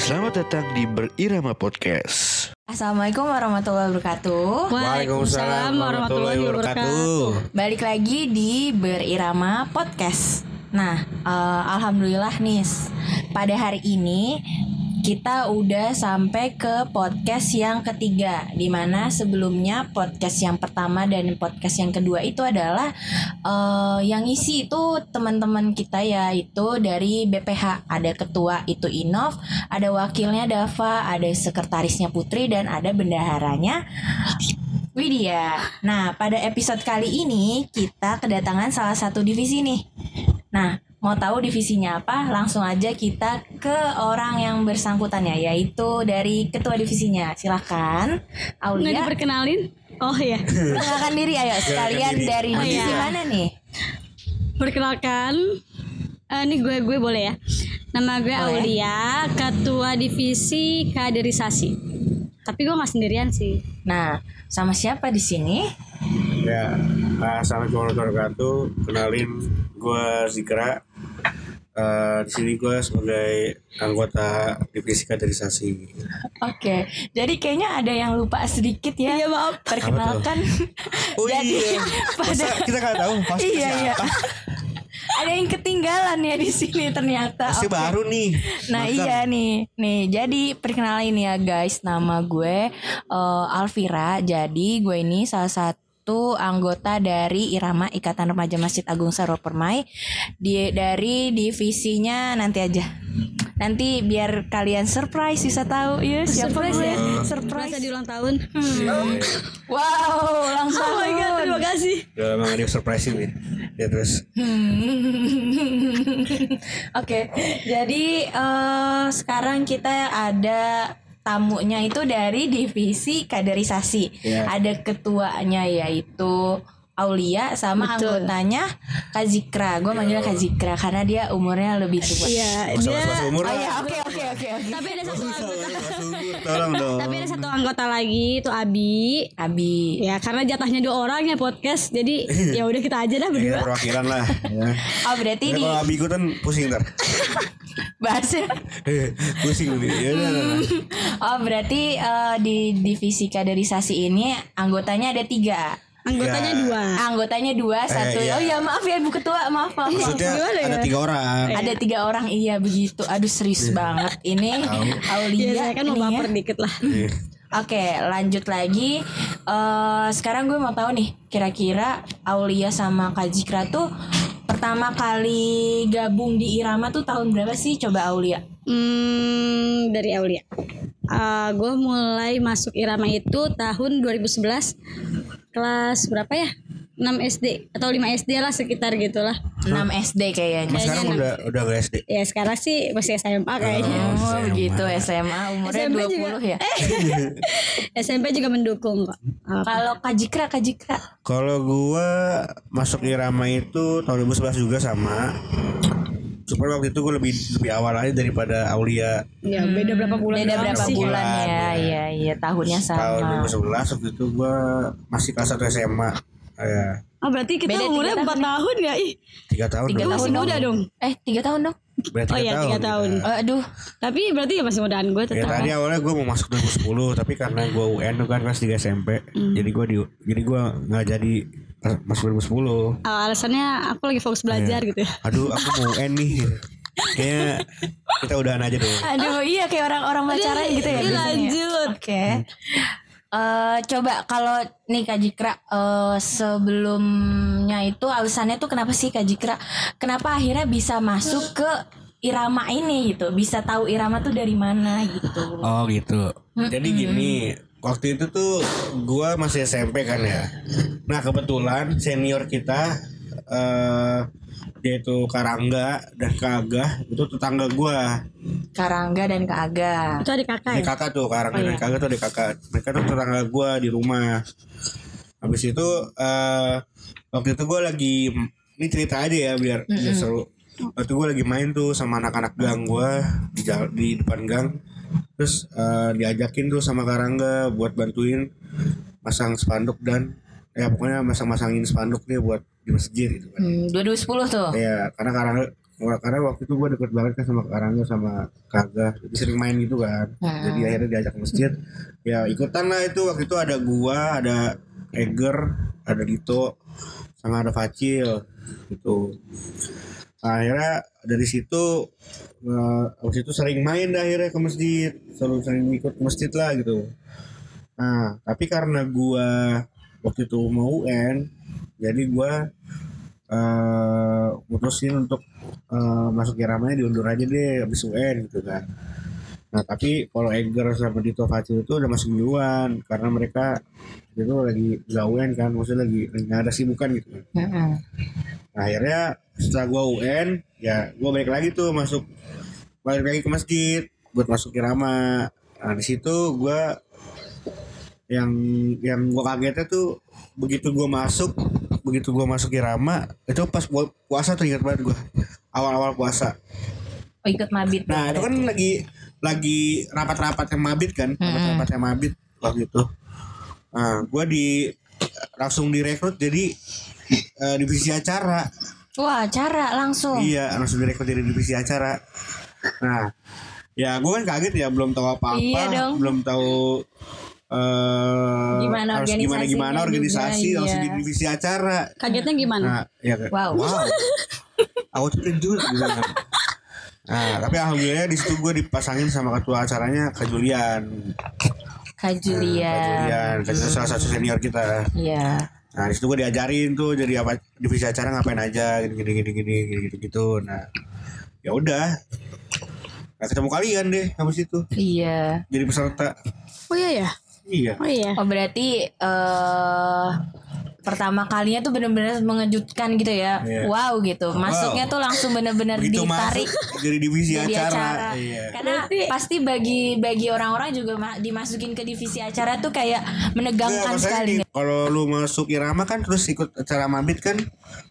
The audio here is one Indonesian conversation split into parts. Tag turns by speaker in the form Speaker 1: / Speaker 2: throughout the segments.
Speaker 1: Selamat datang di Berirama Podcast.
Speaker 2: Assalamualaikum warahmatullahi wabarakatuh.
Speaker 3: Waalaikumsalam warahmatullahi wabarakatuh.
Speaker 2: Balik lagi di Berirama Podcast. Nah, eh, alhamdulillah Nis. Pada hari ini kita udah sampai ke podcast yang ketiga Dimana sebelumnya podcast yang pertama dan podcast yang kedua itu adalah eh, Yang isi itu teman-teman kita yaitu dari BPH Ada ketua itu Inov, ada wakilnya Dava, ada sekretarisnya Putri dan ada bendaharanya Widya. Nah, pada episode kali ini kita kedatangan salah satu divisi nih. Nah, mau tahu divisinya apa? Langsung aja kita ke orang yang bersangkutannya yaitu dari ketua divisinya. Silahkan
Speaker 3: Nggak
Speaker 4: Ya.
Speaker 2: Aulia
Speaker 3: diperkenalin? Oh ya.
Speaker 2: perkenalkan diri ayo sekalian
Speaker 1: diri.
Speaker 2: dari
Speaker 3: Oh,
Speaker 2: divisi
Speaker 3: iya.
Speaker 2: mana nih?
Speaker 3: Perkenalkan. Eh, ini gue gue boleh ya. Nama gue
Speaker 2: Boleh.
Speaker 3: Aulia, ketua divisi kaderisasi. Tapi gue nggak sendirian sih.
Speaker 2: Nah, sama siapa di sini?
Speaker 4: Ya, uh, assalamualaikum warahmatullahi wabarakatuh. Kenalin, gue Zikra. Uh, di sini gue sebagai anggota divisi kaderisasi.
Speaker 2: Oke, jadi kayaknya ada yang lupa sedikit ya. Iya, maaf. Perkenalkan.
Speaker 4: Oh
Speaker 2: jadi
Speaker 4: iya.
Speaker 2: pada
Speaker 4: kita nggak tahu pasti
Speaker 2: iya iya. Ada yang ketinggalan ya di sini ternyata. Oke.
Speaker 4: nih.
Speaker 2: Nah iya nih, nih jadi perkenalin ya guys, nama gue eh, Alvira. Jadi gue ini salah satu anggota dari Irama Ikatan Remaja Masjid Agung Saro Permai di dari divisinya nanti aja. Nanti biar kalian surprise bisa tahu ya siapa
Speaker 3: Surprise
Speaker 2: gue.
Speaker 3: ya?
Speaker 2: Surprise.
Speaker 3: Merasa di ulang tahun.
Speaker 4: Hmm.
Speaker 2: Wow, langsung.
Speaker 3: Oh my god, terima kasih.
Speaker 4: Udah lama nggak surprise nih. Ya terus.
Speaker 2: Hmm. Oke, jadi eh, sekarang kita ada tamunya itu dari divisi kaderisasi.
Speaker 4: Iya.
Speaker 2: Ada ketuanya yaitu Aulia sama
Speaker 3: Betul.
Speaker 2: anggotanya Kazikra. Gue manggilnya Kazikra karena dia umurnya lebih tua.
Speaker 3: Iya, dia
Speaker 4: Masa-masa umur
Speaker 2: Oh
Speaker 4: lah.
Speaker 2: iya, oke oke oke oke.
Speaker 3: tapi ada satu anggota.
Speaker 4: Masa-masa umur, Tolong dong.
Speaker 3: Tapi ada satu anggota lagi itu Abi.
Speaker 2: Abi.
Speaker 3: Ya karena jatahnya dua orang ya podcast. Jadi ya udah kita aja dah
Speaker 4: Ya,
Speaker 3: berdua.
Speaker 4: perwakilan lah. Ya.
Speaker 2: Oh berarti
Speaker 4: Ya,
Speaker 2: di
Speaker 4: kalau abi ikutan pusing ntar.
Speaker 2: bahasa.
Speaker 4: pusing nih. Ya, udah, udah,
Speaker 3: Hmm.
Speaker 4: udah.
Speaker 2: Oh berarti eh, di divisi kaderisasi ini anggotanya ada tiga.
Speaker 3: Anggotanya
Speaker 4: Ya.
Speaker 3: dua.
Speaker 2: Anggotanya dua, satu. Oh
Speaker 4: iya.
Speaker 2: ya maaf ya Bu Ketua, maaf maaf. maaf.
Speaker 4: Maksudnya
Speaker 3: Gimana ya?
Speaker 4: ada tiga orang.
Speaker 2: Ada tiga orang iya begitu. Aduh serius
Speaker 4: Iya.
Speaker 2: banget ini Aulia.
Speaker 3: Ya, saya kan
Speaker 2: ini
Speaker 3: mau
Speaker 2: ya.
Speaker 3: baper dikit lah.
Speaker 4: Iya.
Speaker 2: Oke lanjut lagi. Eh sekarang gue mau tahu nih kira-kira Aulia sama Kak Jikra tuh pertama kali gabung di Irama tuh tahun berapa sih coba Aulia?
Speaker 3: Hmm, dari Aulia. Ah, gue mulai masuk Irama itu tahun 2011 kelas berapa ya? 6 SD atau 5 SD lah sekitar gitulah.
Speaker 2: 6 SD kayaknya.
Speaker 4: Mas sekarang udah udah gak SD.
Speaker 3: Ya sekarang sih masih SMA kayaknya.
Speaker 2: Oh begitu SMA umurnya 20 ya.
Speaker 3: Eh. SMP juga mendukung kok. Ah,
Speaker 2: Kalau Kak Jikra, Kak Jikra.
Speaker 4: Kalau gua masuk irama itu tahun 2011 juga sama. Cuma waktu itu gua lebih lebih awal aja daripada Aulia
Speaker 3: ya beda berapa bulan?
Speaker 2: Beda
Speaker 3: doang
Speaker 2: berapa
Speaker 3: sih.
Speaker 2: bulan ya? Iya iya tahunnya sama.
Speaker 4: tahun 2011 waktu itu gua masih kelas 1 SMA. Ya,
Speaker 3: Oh, berarti kita
Speaker 2: Beda tiga
Speaker 3: umurnya
Speaker 2: tahun.
Speaker 3: 4 tahun ya? Ih,
Speaker 4: tiga tahun.
Speaker 2: Tiga
Speaker 4: dong.
Speaker 2: tahun
Speaker 3: masih muda dong.
Speaker 2: Eh tiga tahun dong?
Speaker 4: Berarti
Speaker 3: Oh iya, tiga tahun.
Speaker 4: kita.
Speaker 2: Eh, Aduh
Speaker 3: Tapi berarti ya masih mudaan gue
Speaker 4: Ya
Speaker 3: tetap.
Speaker 4: tadi awalnya gua mau masuk 2010 tapi karena gua UN tuh kan kelas 3 SMP.
Speaker 3: Hmm.
Speaker 4: Jadi gua di jadi gua nggak jadi masuk 2010.
Speaker 3: Ah, alasannya aku lagi fokus belajar gitu ya.
Speaker 4: Aduh, aku mau UN nih. Kayaknya kita udahan aja deh.
Speaker 2: Aduh iya kayak orang-orang pacaran gitu ya
Speaker 3: Iya,
Speaker 2: biasanya.
Speaker 3: lanjut.
Speaker 2: Oke Eh, Coba kalau nih Kak Jikra eh, Sebelumnya itu alasannya tuh kenapa sih Kak Jikra Kenapa akhirnya bisa masuk ke irama ini gitu Bisa tahu irama tuh dari mana gitu
Speaker 4: Oh gitu. Jadi gini, waktu itu tuh gua masih SMP kan ya. Nah kebetulan senior kita eh dia itu Karangga dan Kagah itu tetangga gua.
Speaker 2: Karangga dan Kak Aga
Speaker 3: Itu adik kakak
Speaker 4: Ini
Speaker 3: ya?
Speaker 4: kakak tuh Karangga dan Kagah tuh ada kakak. Mereka tuh tetangga gua di rumah. Habis itu eh waktu itu gua lagi ini cerita aja ya biar, biar seru. Waktu gua lagi main tuh sama anak-anak gang gua di jal- di depan gang. Terus eh, diajakin tuh sama Karangga buat bantuin masang spanduk dan ya pokoknya masang-masangin spanduk nih buat di masjid gitu kan.
Speaker 2: hmm, 2010 tuh
Speaker 4: Ya, karena Karangga Wah, karena waktu itu gue deket banget kan sama Karangga sama Kaga jadi sering main gitu kan
Speaker 2: Heeh.
Speaker 4: jadi akhirnya diajak ke masjid ya ikutan lah itu waktu itu ada gua ada Eger ada Dito sama ada Facil gitu Nah, akhirnya dari situ eh, abis itu sering main dah akhirnya ke masjid selalu sering ikut ke masjid lah gitu nah tapi karena gua waktu itu mau UN jadi gua eh mutusin untuk eh, masuk iramanya diundur aja deh habis UN gitu kan nah tapi kalau Edgar sama Dito Facil itu udah masuk duluan karena mereka itu lagi gak UN kan maksudnya lagi lagi nggak ada sibukan gitu kan
Speaker 2: Heeh.
Speaker 4: Nah, akhirnya setelah gua UN ya gua balik lagi tuh masuk balik lagi ke masjid buat masuk irama nah di situ gua yang yang gua kagetnya tuh begitu gua masuk begitu gua masuk irama itu pas gua puasa tuh ingat banget gua awal-awal puasa
Speaker 2: Oh, ikut mabit
Speaker 4: Nah itu
Speaker 2: banget.
Speaker 4: kan lagi lagi rapat-rapat yang mabit kan,
Speaker 2: Mm-mm.
Speaker 4: rapat-rapat yang mabit waktu itu. Nah, gue di langsung direkrut jadi eh, divisi acara.
Speaker 2: Wah, cara langsung.
Speaker 4: Iya langsung direkrut jadi divisi acara. Nah, ya gue kan kaget ya belum tahu apa-apa,
Speaker 2: Iya dong.
Speaker 4: belum tahu eh
Speaker 2: Gimana
Speaker 4: harus gimana gimana
Speaker 2: organisasinya
Speaker 4: organisasi
Speaker 2: juga,
Speaker 4: langsung
Speaker 2: iya.
Speaker 4: jadi divisi acara.
Speaker 3: Kagetnya gimana?
Speaker 4: Nah, ya kayak,
Speaker 2: Wow.
Speaker 4: Aku tuh terkejut gitu kan. Nah, tapi alhamdulillah di situ gue dipasangin sama ketua acaranya Kak Julian. Nah,
Speaker 2: Kak
Speaker 4: Kak
Speaker 2: Julia.
Speaker 4: Julian, Kak Julian salah satu senior kita.
Speaker 2: Iya.
Speaker 4: Nah, di situ gue diajarin tuh jadi apa divisi acara ngapain aja gini gini gini gini gini gitu, gitu. Nah, ya udah. Nah, ketemu kalian deh habis itu
Speaker 2: Iya.
Speaker 4: jadi peserta.
Speaker 3: Oh iya ya.
Speaker 4: Iya.
Speaker 3: Oh iya.
Speaker 2: Oh, berarti eh pertama kalinya tuh bener-bener mengejutkan gitu ya.
Speaker 4: Iya.
Speaker 2: Wow gitu. Masuknya
Speaker 4: Wow.
Speaker 2: tuh langsung bener-bener
Speaker 4: Begitu
Speaker 2: ditarik.
Speaker 4: masuk jadi divisi
Speaker 2: jadi
Speaker 4: acara.
Speaker 2: acara.
Speaker 4: Iya.
Speaker 2: Karena pasti bagi bagi orang-orang juga ma- dimasukin ke divisi acara tuh kayak menegangkan
Speaker 4: Enggak,
Speaker 2: kan sekali.
Speaker 4: Iya, maksudnya di- Kalau lu masuk irama kan terus ikut acara mabit kan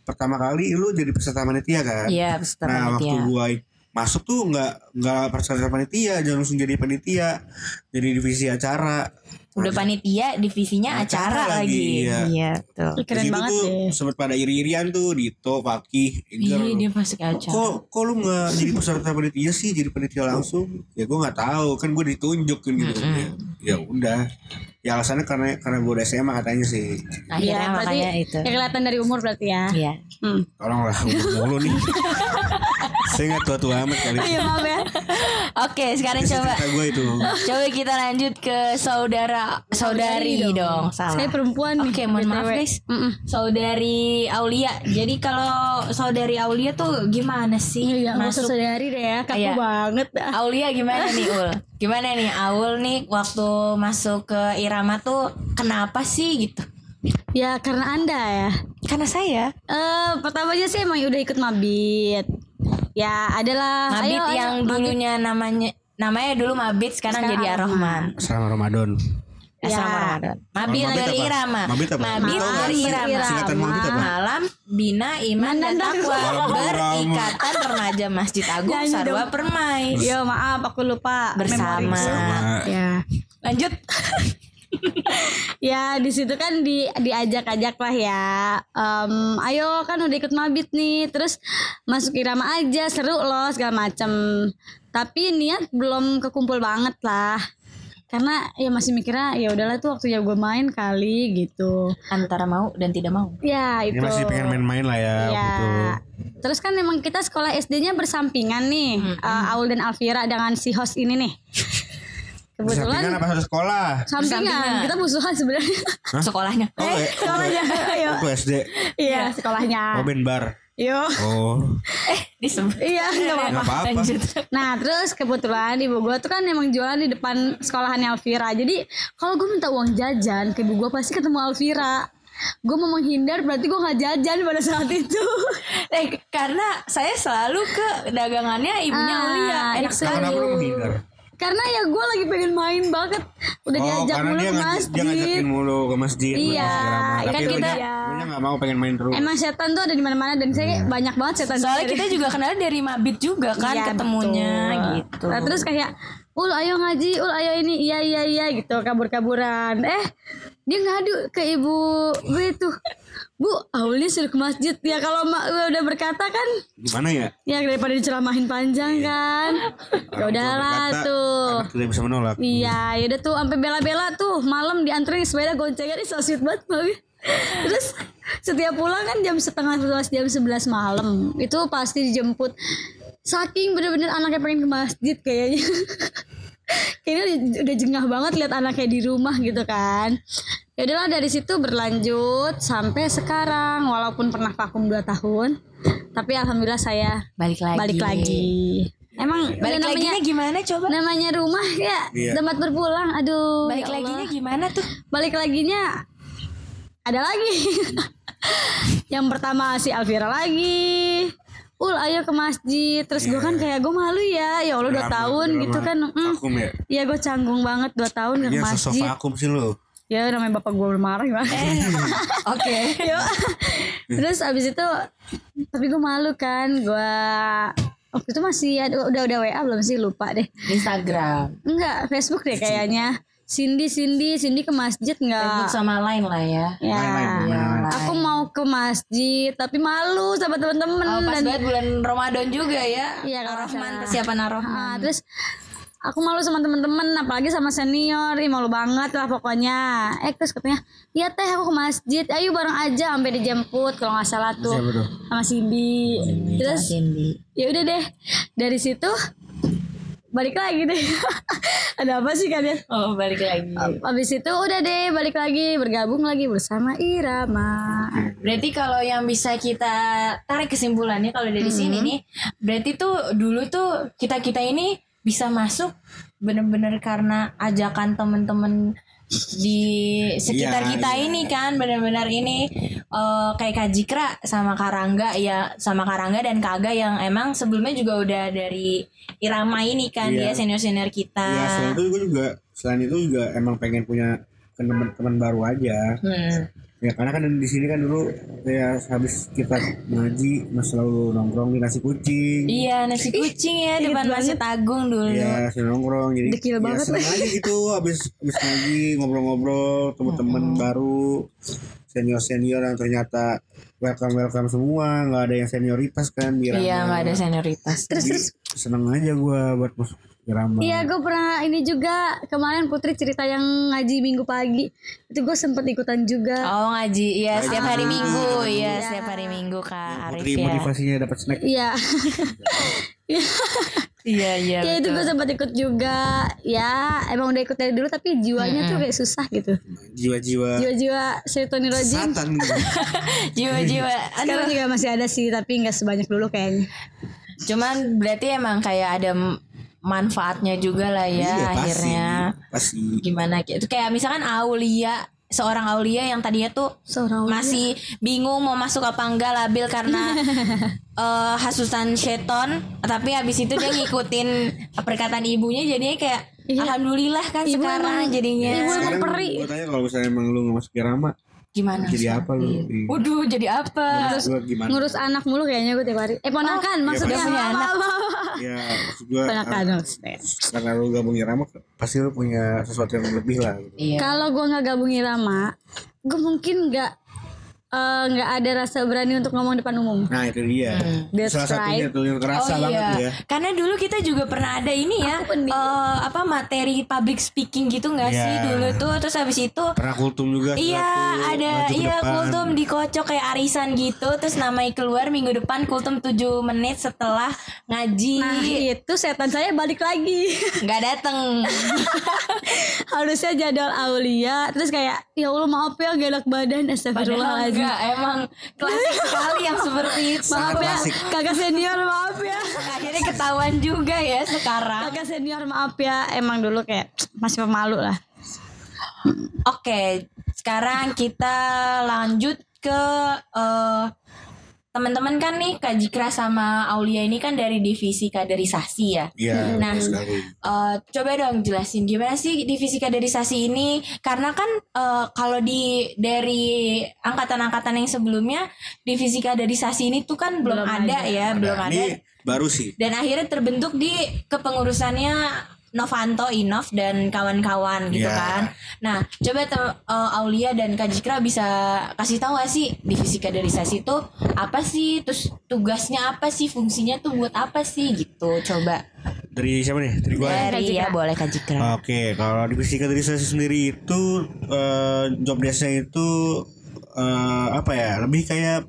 Speaker 4: pertama kali lu jadi peserta panitia kan.
Speaker 2: Iya, peserta
Speaker 4: nah, waktu
Speaker 2: panitia.
Speaker 4: gua ik- masuk tuh nggak nggak peserta panitia, jangan langsung jadi panitia, jadi divisi acara.
Speaker 2: Udah panitia, divisinya acara,
Speaker 4: Acara
Speaker 2: lagi.
Speaker 4: lagi, iya.
Speaker 2: Iya, tuh.
Speaker 3: Ih,
Speaker 4: Di
Speaker 3: Keren
Speaker 4: situ
Speaker 3: banget
Speaker 4: tuh
Speaker 3: deh.
Speaker 4: Sempet pada iri-irian tuh Dito, Fakih, Eger.
Speaker 2: Iya, dia masuk acara.
Speaker 4: Kok, kok lu gak jadi peserta panitia sih Jadi panitia langsung Ya gue gak tahu Kan gue ditunjukin gitu Ya ya udah Ya alasannya karena karena gue udah SMA katanya sih
Speaker 2: Akhirnya
Speaker 3: Iya, berarti
Speaker 2: makanya itu.
Speaker 3: Ya kelihatan dari umur berarti ya.
Speaker 2: Iya.
Speaker 3: Hmm.
Speaker 4: Tolonglah mulu nih. Saya nggak tua-tua amat kali.
Speaker 3: Iya maaf ya.
Speaker 2: Oke, sekarang
Speaker 4: Itu
Speaker 2: coba
Speaker 4: cerita gue itu.
Speaker 2: coba kita lanjut ke saudara saudari
Speaker 3: Saudari
Speaker 2: dong. Salah.
Speaker 3: Saya perempuan nih.
Speaker 2: Oke, mohon maaf
Speaker 3: BTW.
Speaker 2: guys.
Speaker 3: Mm-mm.
Speaker 2: Saudari Aulia. Jadi kalau saudari Aulia tuh gimana
Speaker 3: Iya,
Speaker 2: sih
Speaker 3: iya, nggak usah saudari deh ya, kaku
Speaker 2: Iya.
Speaker 3: banget dah.
Speaker 2: Aulia gimana nih Ul? Gimana nih Aul nih waktu masuk ke Irama tuh kenapa sih gitu?
Speaker 3: Ya karena anda ya.
Speaker 2: Karena saya
Speaker 3: Eh pertamanya sih emang udah ikut mabit. Ya adalah.
Speaker 2: Mabit
Speaker 3: ayo, ayo,
Speaker 2: yang
Speaker 3: mabit.
Speaker 2: dulunya namanya namanya dulu Mabit sekarang,
Speaker 3: Sekarang
Speaker 2: jadi Ar-Rahman.
Speaker 4: Selama Ramadan.
Speaker 2: Ya.
Speaker 3: Ya.
Speaker 2: Ramadan. Mabit
Speaker 4: Mabit
Speaker 2: dari
Speaker 4: apa?
Speaker 2: Irama.
Speaker 4: Mabit apa? Tahu nggak
Speaker 2: dari
Speaker 4: sih?
Speaker 2: Irama.
Speaker 4: Singkatan mabit apa?
Speaker 2: Malam Bina Iman
Speaker 3: Nah,
Speaker 2: dan Takwa
Speaker 4: Walaupun
Speaker 2: berikatan remaja Masjid Agung
Speaker 3: Nyanyi
Speaker 2: Sarwa
Speaker 3: dong.
Speaker 2: Permai
Speaker 3: Iya maaf aku lupa.
Speaker 2: bersama.
Speaker 4: Sama.
Speaker 3: Ya.
Speaker 2: Lanjut.
Speaker 3: Ya di situ kan di diajak-ajak lah ya. Em, ayo kan udah ikut mabit nih, terus masuk irama aja seru loh segala macem. Tapi niat belum kekumpul banget lah. Karena ya masih mikirnya ya udahlah tuh waktunya gue main kali gitu.
Speaker 2: Antara mau dan tidak mau.
Speaker 3: Ya
Speaker 4: Ini
Speaker 3: itu.
Speaker 4: masih pengen main-main lah ya.
Speaker 3: Ya.
Speaker 4: Gitu.
Speaker 3: Terus kan memang kita sekolah SD-nya bersampingan nih, eh, Aul dan Alvira dengan si host ini nih.
Speaker 4: Kebetulan
Speaker 3: Kebetulan Eh,
Speaker 4: apa satu sekolah?
Speaker 3: sampingan,
Speaker 2: Bersampingan.
Speaker 3: kita musuhan sebenarnya.
Speaker 2: Sekolahnya.
Speaker 4: Oh, eh,
Speaker 3: Sekolahnya, ya, ayo.
Speaker 4: aku SD.
Speaker 3: Iya,
Speaker 4: Oh,
Speaker 3: sekolahnya.
Speaker 4: band bar.
Speaker 3: Yo.
Speaker 4: Oh,
Speaker 2: Disebut.
Speaker 3: Iya, enggak apa-apa.
Speaker 4: Eh, nggak apa-apa.
Speaker 2: Eh, Lanjut.
Speaker 3: Nah, terus kebetulan ibu gue tuh kan emang jualan di depan sekolahannya Alvira. Jadi, kalau gue minta uang jajan ke ibu gue pasti ketemu Alvira. Gue mau menghindar berarti gue nggak jajan pada saat itu.
Speaker 2: Eh, karena saya selalu ke dagangannya ibunya
Speaker 3: Ah,
Speaker 2: Aulia. Enak
Speaker 3: itu.
Speaker 2: sekali.
Speaker 4: Nah, kenapa lu menghindar?
Speaker 3: karena ya gue lagi pengen main banget. Udah
Speaker 4: Oh,
Speaker 3: diajak
Speaker 4: karena
Speaker 3: mulu
Speaker 4: dia,
Speaker 3: ke
Speaker 4: ngaj- dia
Speaker 3: masjid.
Speaker 4: ngajakin mulu ke masjid. buat
Speaker 3: Iya,
Speaker 4: masjid ramah.
Speaker 3: kan
Speaker 4: Tapi
Speaker 2: kita-
Speaker 4: Lu gak mau pengen main terus.
Speaker 3: Emang setan tuh ada di mana-mana dan
Speaker 4: Hmm.
Speaker 3: saya banyak banget setan.
Speaker 2: Soalnya kita juga kenal dari Mabit juga kan
Speaker 3: Iya,
Speaker 2: ketemunya
Speaker 3: betul.
Speaker 2: gitu.
Speaker 3: Nah, terus kayak ul ayo ngaji, ul ayo ini, iya iya iya gitu kabur-kaburan. Eh dia ngadu ke ibu gue tuh bu Aulia suruh ke masjid ya kalau mak gue udah berkata kan
Speaker 4: Gimana ya?
Speaker 3: ya daripada diceramahin panjang kan ya
Speaker 4: Orang tua
Speaker 3: udahlah
Speaker 4: berkata,
Speaker 3: tuh
Speaker 4: anak tidak bisa menolak.
Speaker 3: Iya, yaudah tuh sampai bela-bela tuh malam dianterin sepeda goncengan ini so sweet banget Mami. Terus setiap pulang kan jam setengah sebelas jam sebelas malam itu pasti dijemput. Saking bener-bener anaknya pengen ke masjid kayaknya. kayaknya udah- udah jengah banget lihat anaknya di rumah gitu kan. Ya udahlah dari situ berlanjut sampai sekarang walaupun pernah vakum 2 tahun tapi alhamdulillah saya
Speaker 2: Balik lagi.
Speaker 3: balik lagi. Emang
Speaker 2: Balik
Speaker 3: ya
Speaker 2: laginya gimana coba?
Speaker 3: namanya rumah ya
Speaker 4: Iya.
Speaker 3: tempat berpulang aduh
Speaker 2: Balik
Speaker 3: ya Allah.
Speaker 2: laginya gimana tuh?
Speaker 3: balik laginya ada lagi yang pertama si Alvira lagi ul ayo ke masjid terus
Speaker 4: Iya.
Speaker 3: gue kan kayak gue malu ya ya allah dua
Speaker 4: Drama,
Speaker 3: tahun
Speaker 4: drama.
Speaker 3: gitu kan mm.
Speaker 4: Vakum ya?
Speaker 3: Iya gue canggung banget dua tahun gak ke
Speaker 4: Dia Iya, sosok
Speaker 3: masjid
Speaker 4: vakum sih lo.
Speaker 3: Ya namanya bapak gue marah gimana
Speaker 2: Oke.
Speaker 3: Yo. Terus abis itu tapi gue malu kan, gue waktu itu masih ada udah udah WA belum sih lupa deh.
Speaker 2: Instagram.
Speaker 3: Enggak, Facebook deh kayaknya. Cindy, Cindy, Cindy ke masjid
Speaker 2: Facebook
Speaker 3: enggak?
Speaker 2: sama lain lah ya.
Speaker 3: Ya.
Speaker 2: Ya,
Speaker 3: Ah.
Speaker 4: Nah.
Speaker 3: Aku mau ke masjid tapi malu sama temen-temen
Speaker 2: Oh, pas
Speaker 3: dan
Speaker 2: banget bulan Ramadan juga ya.
Speaker 3: Iya, kalau nggak
Speaker 2: Ar-Rahman
Speaker 3: salah.
Speaker 2: persiapan
Speaker 3: Ah,
Speaker 2: Ar-Rahman.
Speaker 3: terus aku malu sama temen-temen apalagi sama senior Ih, malu banget lah pokoknya eh terus katanya iya teh aku ke masjid ayo bareng aja sampai dijemput kalau nggak salah tuh
Speaker 4: Siapa tuh?
Speaker 3: sama Cindy terus
Speaker 2: Iya, Cindy.
Speaker 3: ya udah deh dari situ balik lagi deh ada apa sih kalian
Speaker 2: Oh, balik lagi.
Speaker 3: habis itu udah deh balik lagi bergabung lagi bersama Irama
Speaker 2: Berarti kalau yang bisa kita tarik kesimpulannya kalau dari sini
Speaker 4: Mm-hmm.
Speaker 2: nih, berarti tuh dulu tuh kita kita ini bisa masuk bener-bener karena ajakan temen-temen di sekitar
Speaker 4: Iya,
Speaker 2: kita
Speaker 4: iya.
Speaker 2: ini kan bener-bener ini eh, kayak Kak Jikra sama Karangga ya sama Karangga dan Kaga yang emang sebelumnya juga udah dari Irama ini kan
Speaker 4: Iya.
Speaker 2: dia senior-senior kita.
Speaker 4: Ya selain itu gue juga selain itu juga emang pengen punya teman-teman baru aja.
Speaker 2: Hmm.
Speaker 4: Ya karena kan di sini kan dulu ya habis kita ngaji mas selalu nongkrong di nasi kucing.
Speaker 2: Iya nasi kucing ya depan masjid Agung dulu.
Speaker 4: Ya selalu nongkrong jadi
Speaker 3: Dekil
Speaker 4: ya,
Speaker 3: banget.
Speaker 4: seneng aja gitu habis habis ngaji ngobrol-ngobrol teman-teman baru senior-senior yang ternyata welcome welcome semua nggak ada yang senioritas kan di
Speaker 2: Iya
Speaker 4: Rama.
Speaker 2: nggak ada senioritas.
Speaker 4: Jadi, seneng aja gue buat masuk di Rama.
Speaker 3: Iya gue pernah ini juga kemarin Putri cerita yang ngaji minggu pagi itu gue sempet ikutan juga
Speaker 2: Oh ngaji, iya setiap hari
Speaker 4: Ah,
Speaker 2: Minggu, iya
Speaker 3: iya.
Speaker 2: setiap hari Minggu Kak Arif
Speaker 4: Putri
Speaker 2: ya.
Speaker 4: motivasinya dapat snack
Speaker 3: Iya
Speaker 2: Iya iya.
Speaker 3: ya itu gue sempet ikut juga ya emang udah ikut dari dulu tapi jiwanya tuh kayak susah gitu
Speaker 4: jiwa-jiwa
Speaker 3: jiwa-jiwa serotonin rojin
Speaker 4: satan gitu.
Speaker 2: Jiwa-jiwa. Aduh.
Speaker 3: sekarang juga masih ada sih tapi nggak sebanyak dulu kayaknya
Speaker 2: Cuman berarti emang kayak ada m- manfaatnya juga lah ya
Speaker 4: Iya, pasti,
Speaker 2: akhirnya.
Speaker 4: pasti
Speaker 2: Gimana gitu. Kayak misalkan Aulia seorang Aulia yang tadinya tuh
Speaker 3: seorang
Speaker 2: masih bingung mau masuk apa enggak labil karena eh, hasutan seton tapi habis itu dia ngikutin perkataan ibunya jadinya kayak
Speaker 3: Iya.
Speaker 2: alhamdulillah kan
Speaker 3: Ibu
Speaker 2: sekarang
Speaker 3: emang-
Speaker 2: jadinya
Speaker 3: ibu emang-
Speaker 4: Sekarang
Speaker 3: peri.
Speaker 4: gue tanya kalau misalnya emang lu gak masuk irama
Speaker 2: gimana
Speaker 4: Jadi
Speaker 2: Ustaz?
Speaker 4: apa lu?
Speaker 2: Iya. waduh jadi apa
Speaker 4: Gue gimana?
Speaker 3: ngurus anak mulu kayaknya gue tiap hari eh ponakan maksudnya
Speaker 2: Dia punya anak.
Speaker 4: Ya maksud gue
Speaker 3: ponakan maksudnya
Speaker 4: Karena lu gabung irama Pasti lu punya sesuatu yang lebih lah gitu.
Speaker 2: iya
Speaker 3: Kalau gue nggak gabung Irama, gue mungkin nggak eh, nggak ada rasa berani untuk ngomong depan umum.
Speaker 4: Nah itu dia
Speaker 3: That's
Speaker 4: Salah satunya
Speaker 3: right.
Speaker 4: tuh yang kerasa banget tuh ya
Speaker 2: oh, iya. karena dulu kita juga pernah ada ini ya eh, apa materi public speaking gitu nggak
Speaker 4: Iya.
Speaker 2: sih dulu tuh terus habis itu
Speaker 4: Pernah kultum juga
Speaker 2: Iya
Speaker 4: satu,
Speaker 2: ada
Speaker 4: maju ke
Speaker 2: iya
Speaker 4: depan.
Speaker 2: kultum dikocok kayak arisan gitu terus namanya keluar minggu depan kultum 7 menit setelah ngaji
Speaker 3: Nah
Speaker 4: Iya.
Speaker 3: itu setan saya balik lagi.
Speaker 2: nggak dateng
Speaker 3: Harusnya jadwal Aulia, terus kayak ya Allah maaf ya gak enak badan
Speaker 2: padahal
Speaker 3: Astagfirullahaladzim.
Speaker 2: enggak emang klasik sekali yang seperti itu
Speaker 3: Maaf ya,
Speaker 4: Klasik.
Speaker 3: kakak senior maaf ya.
Speaker 2: akhirnya ketahuan juga ya
Speaker 4: Ah.
Speaker 2: sekarang
Speaker 3: Kakak senior maaf ya, emang dulu kayak masih pemalu lah.
Speaker 2: Oke, sekarang kita lanjut ke eh, teman-teman kan nih Kak Jikra sama Aulia ini kan dari divisi kaderisasi ya.
Speaker 4: Iya
Speaker 2: Nah,
Speaker 4: betul sekali
Speaker 2: eh, coba dong jelasin gimana sih divisi kaderisasi ini? Karena kan eh, kalau di dari angkatan-angkatan yang sebelumnya divisi kaderisasi ini tuh kan belum,
Speaker 3: Belum
Speaker 2: ada,
Speaker 3: ada.
Speaker 2: ya, belum
Speaker 4: Nah,
Speaker 2: ada.
Speaker 4: Ini baru sih
Speaker 2: Dan akhirnya terbentuk di kepengurusannya Novanto, Inov dan kawan-kawan gitu
Speaker 4: Iya.
Speaker 2: kan. Nah, coba tem- eh, Aulia dan Kak Jikra bisa kasih tahu gak sih di fisika derisasi itu apa sih? Terus tugasnya apa sih? Fungsinya tuh buat apa sih gitu? Coba
Speaker 4: Dari siapa nih? Dari gua.
Speaker 3: Kak
Speaker 2: dari
Speaker 3: Jikra.
Speaker 2: ya boleh Kak Jikra.
Speaker 4: Oke, kalau di psikoterapi sendiri itu eh, job desk-nya itu eh, apa ya? Lebih kayak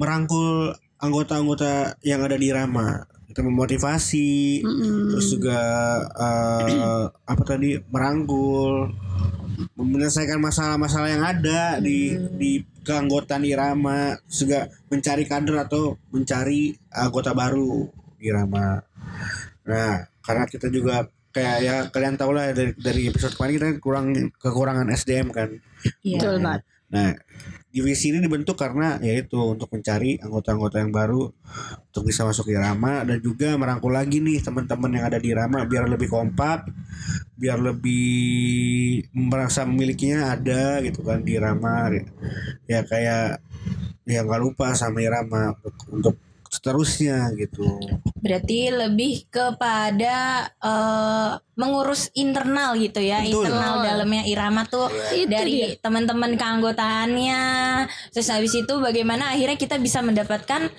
Speaker 4: merangkul anggota-anggota yang ada di Rama. Kita memotivasi, terus juga eh, apa tadi? merangkul menyelesaikan masalah-masalah yang ada di di keanggotaan Irama, terus juga mencari kader atau mencari anggota baru di Irama. Nah, karena kita juga kayak ya kalian tau lah dari, dari episode kemarin kita kurang kekurangan SDM kan.
Speaker 2: Iya.
Speaker 3: Betul banget.
Speaker 4: Nah, divisi ini dibentuk karena yaitu untuk mencari anggota-anggota yang baru untuk bisa masuk di Rama dan juga merangkul lagi nih teman-teman yang ada di Rama biar lebih kompak, biar lebih merasa memilikinya ada gitu kan di Rama. Ya kayak ya nggak lupa sama Irama untuk, untuk seterusnya gitu.
Speaker 2: Berarti lebih kepada eh, mengurus internal gitu ya,
Speaker 4: Betul. Iya.
Speaker 2: internal dalamnya Irama tuh
Speaker 3: Itu dia.
Speaker 2: dari teman-teman keanggotaannya. Terus habis itu bagaimana akhirnya kita bisa mendapatkan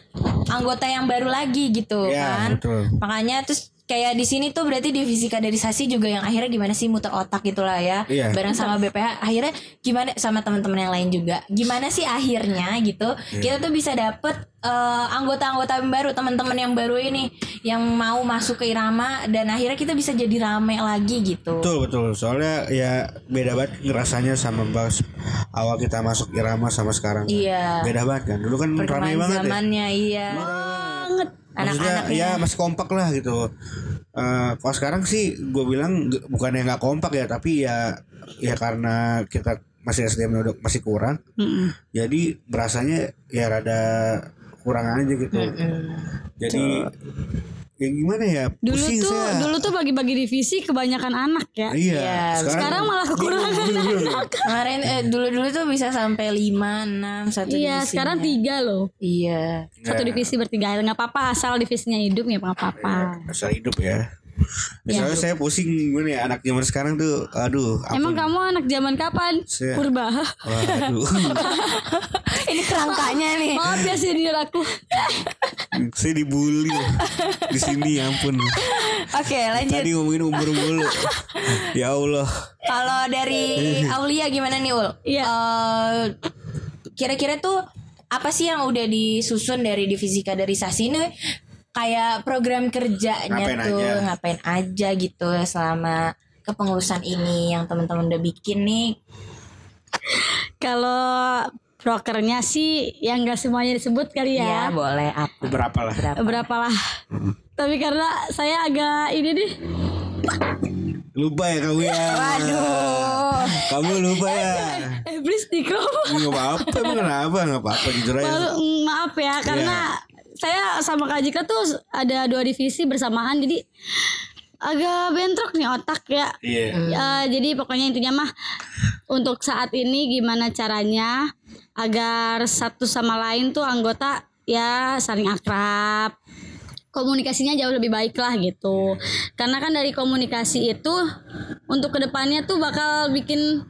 Speaker 2: anggota yang baru lagi gitu kan.
Speaker 4: Ya, betul.
Speaker 2: Makanya terus kayak di sini tuh berarti divisi kaderisasi juga yang akhirnya gimana sih muter otak gitulah ya.
Speaker 4: Iya.
Speaker 2: Bareng sama BPH akhirnya gimana sama teman-teman yang lain juga. Gimana sih akhirnya gitu.
Speaker 4: Iya.
Speaker 2: Kita tuh bisa dapet eh, anggota-anggota yang baru, teman-teman yang baru ini yang mau masuk ke irama dan akhirnya kita bisa jadi rame lagi gitu.
Speaker 4: Betul betul. Soalnya ya beda banget rasanya sama pas awal kita masuk irama sama sekarang.
Speaker 2: Iya.
Speaker 4: Beda banget kan. Dulu kan ramai
Speaker 2: Perkembangan
Speaker 4: banget ya.
Speaker 2: zamannya iya.
Speaker 3: Banget.
Speaker 4: Maksudnya
Speaker 2: Anak-anaknya.
Speaker 4: ya masih kompak lah gitu. Eh kalau sekarang sih gue bilang g- bukannya nggak kompak ya tapi ya ya karena kita masih SDM udah masih kurang.
Speaker 3: Mm-mm.
Speaker 4: Jadi berasanya ya rada kurang aja gitu. Jadi ya gimana ya?
Speaker 3: Dulu
Speaker 4: pusing
Speaker 3: tuh
Speaker 4: saya.
Speaker 3: dulu tuh bagi-bagi divisi kebanyakan anak ya.
Speaker 4: Iya.
Speaker 2: Iya,
Speaker 3: Sekarang malah kekurangan anak.
Speaker 2: Kemarin eh, dulu-dulu tuh bisa sampai 5 6 satu divisinya.
Speaker 3: Iya, sekarang tiga loh.
Speaker 2: Iya.
Speaker 3: Satu
Speaker 4: Iya.
Speaker 3: divisi bertiga nggak apa-apa asal divisinya hidup ya nggak apa-apa.
Speaker 4: asal hidup
Speaker 3: Iya.
Speaker 4: ya. Misalnya saya pusing gimana ya anak zaman sekarang tuh, aduh. ampun.
Speaker 3: Emang kamu anak zaman kapan?
Speaker 4: Saya-
Speaker 3: Purba.
Speaker 4: Waduh,
Speaker 2: Ini kerangkanya nih.
Speaker 3: Maaf ya senior aku.
Speaker 4: saya dibully loh. di sini, ya ampun.
Speaker 2: Oke, lanjut.
Speaker 4: Tadi ngomongin umur mulu. ya Allah.
Speaker 2: Kalau dari Aulia gimana nih, Ul?
Speaker 3: Iya.
Speaker 2: Eh, kira-kira tuh apa sih yang udah disusun dari divisi kaderisasi ini? Kayak program kerjanya
Speaker 4: Ngapain
Speaker 2: tuh
Speaker 4: aja?
Speaker 2: ngapain aja gitu selama kepengurusan ini yang teman-teman udah bikin nih.
Speaker 3: Kalau brokernya sih yang enggak semuanya disebut kali ya.
Speaker 2: boleh apa?
Speaker 4: Berapa lah?
Speaker 3: Berapa lah? Tapi karena saya agak ini deh
Speaker 4: Lupa ya kamu ya.
Speaker 2: Waduh.
Speaker 4: Kamu lupa ya.
Speaker 3: eh please di crop.
Speaker 4: Ini Gak apa-apa, emang kenapa? Gak apa-apa, jujur aja.
Speaker 3: Baru- mm, maaf
Speaker 4: Iya.
Speaker 3: ya karena saya sama Kak Jika tuh ada dua divisi bersamaan jadi agak bentrok nih otak ya.
Speaker 4: Iya.
Speaker 3: Ya, jadi pokoknya intinya mah untuk saat ini gimana caranya agar satu sama lain tuh anggota ya saling akrab. Komunikasinya jauh lebih baik lah gitu. Karena kan dari komunikasi itu untuk kedepannya tuh bakal bikin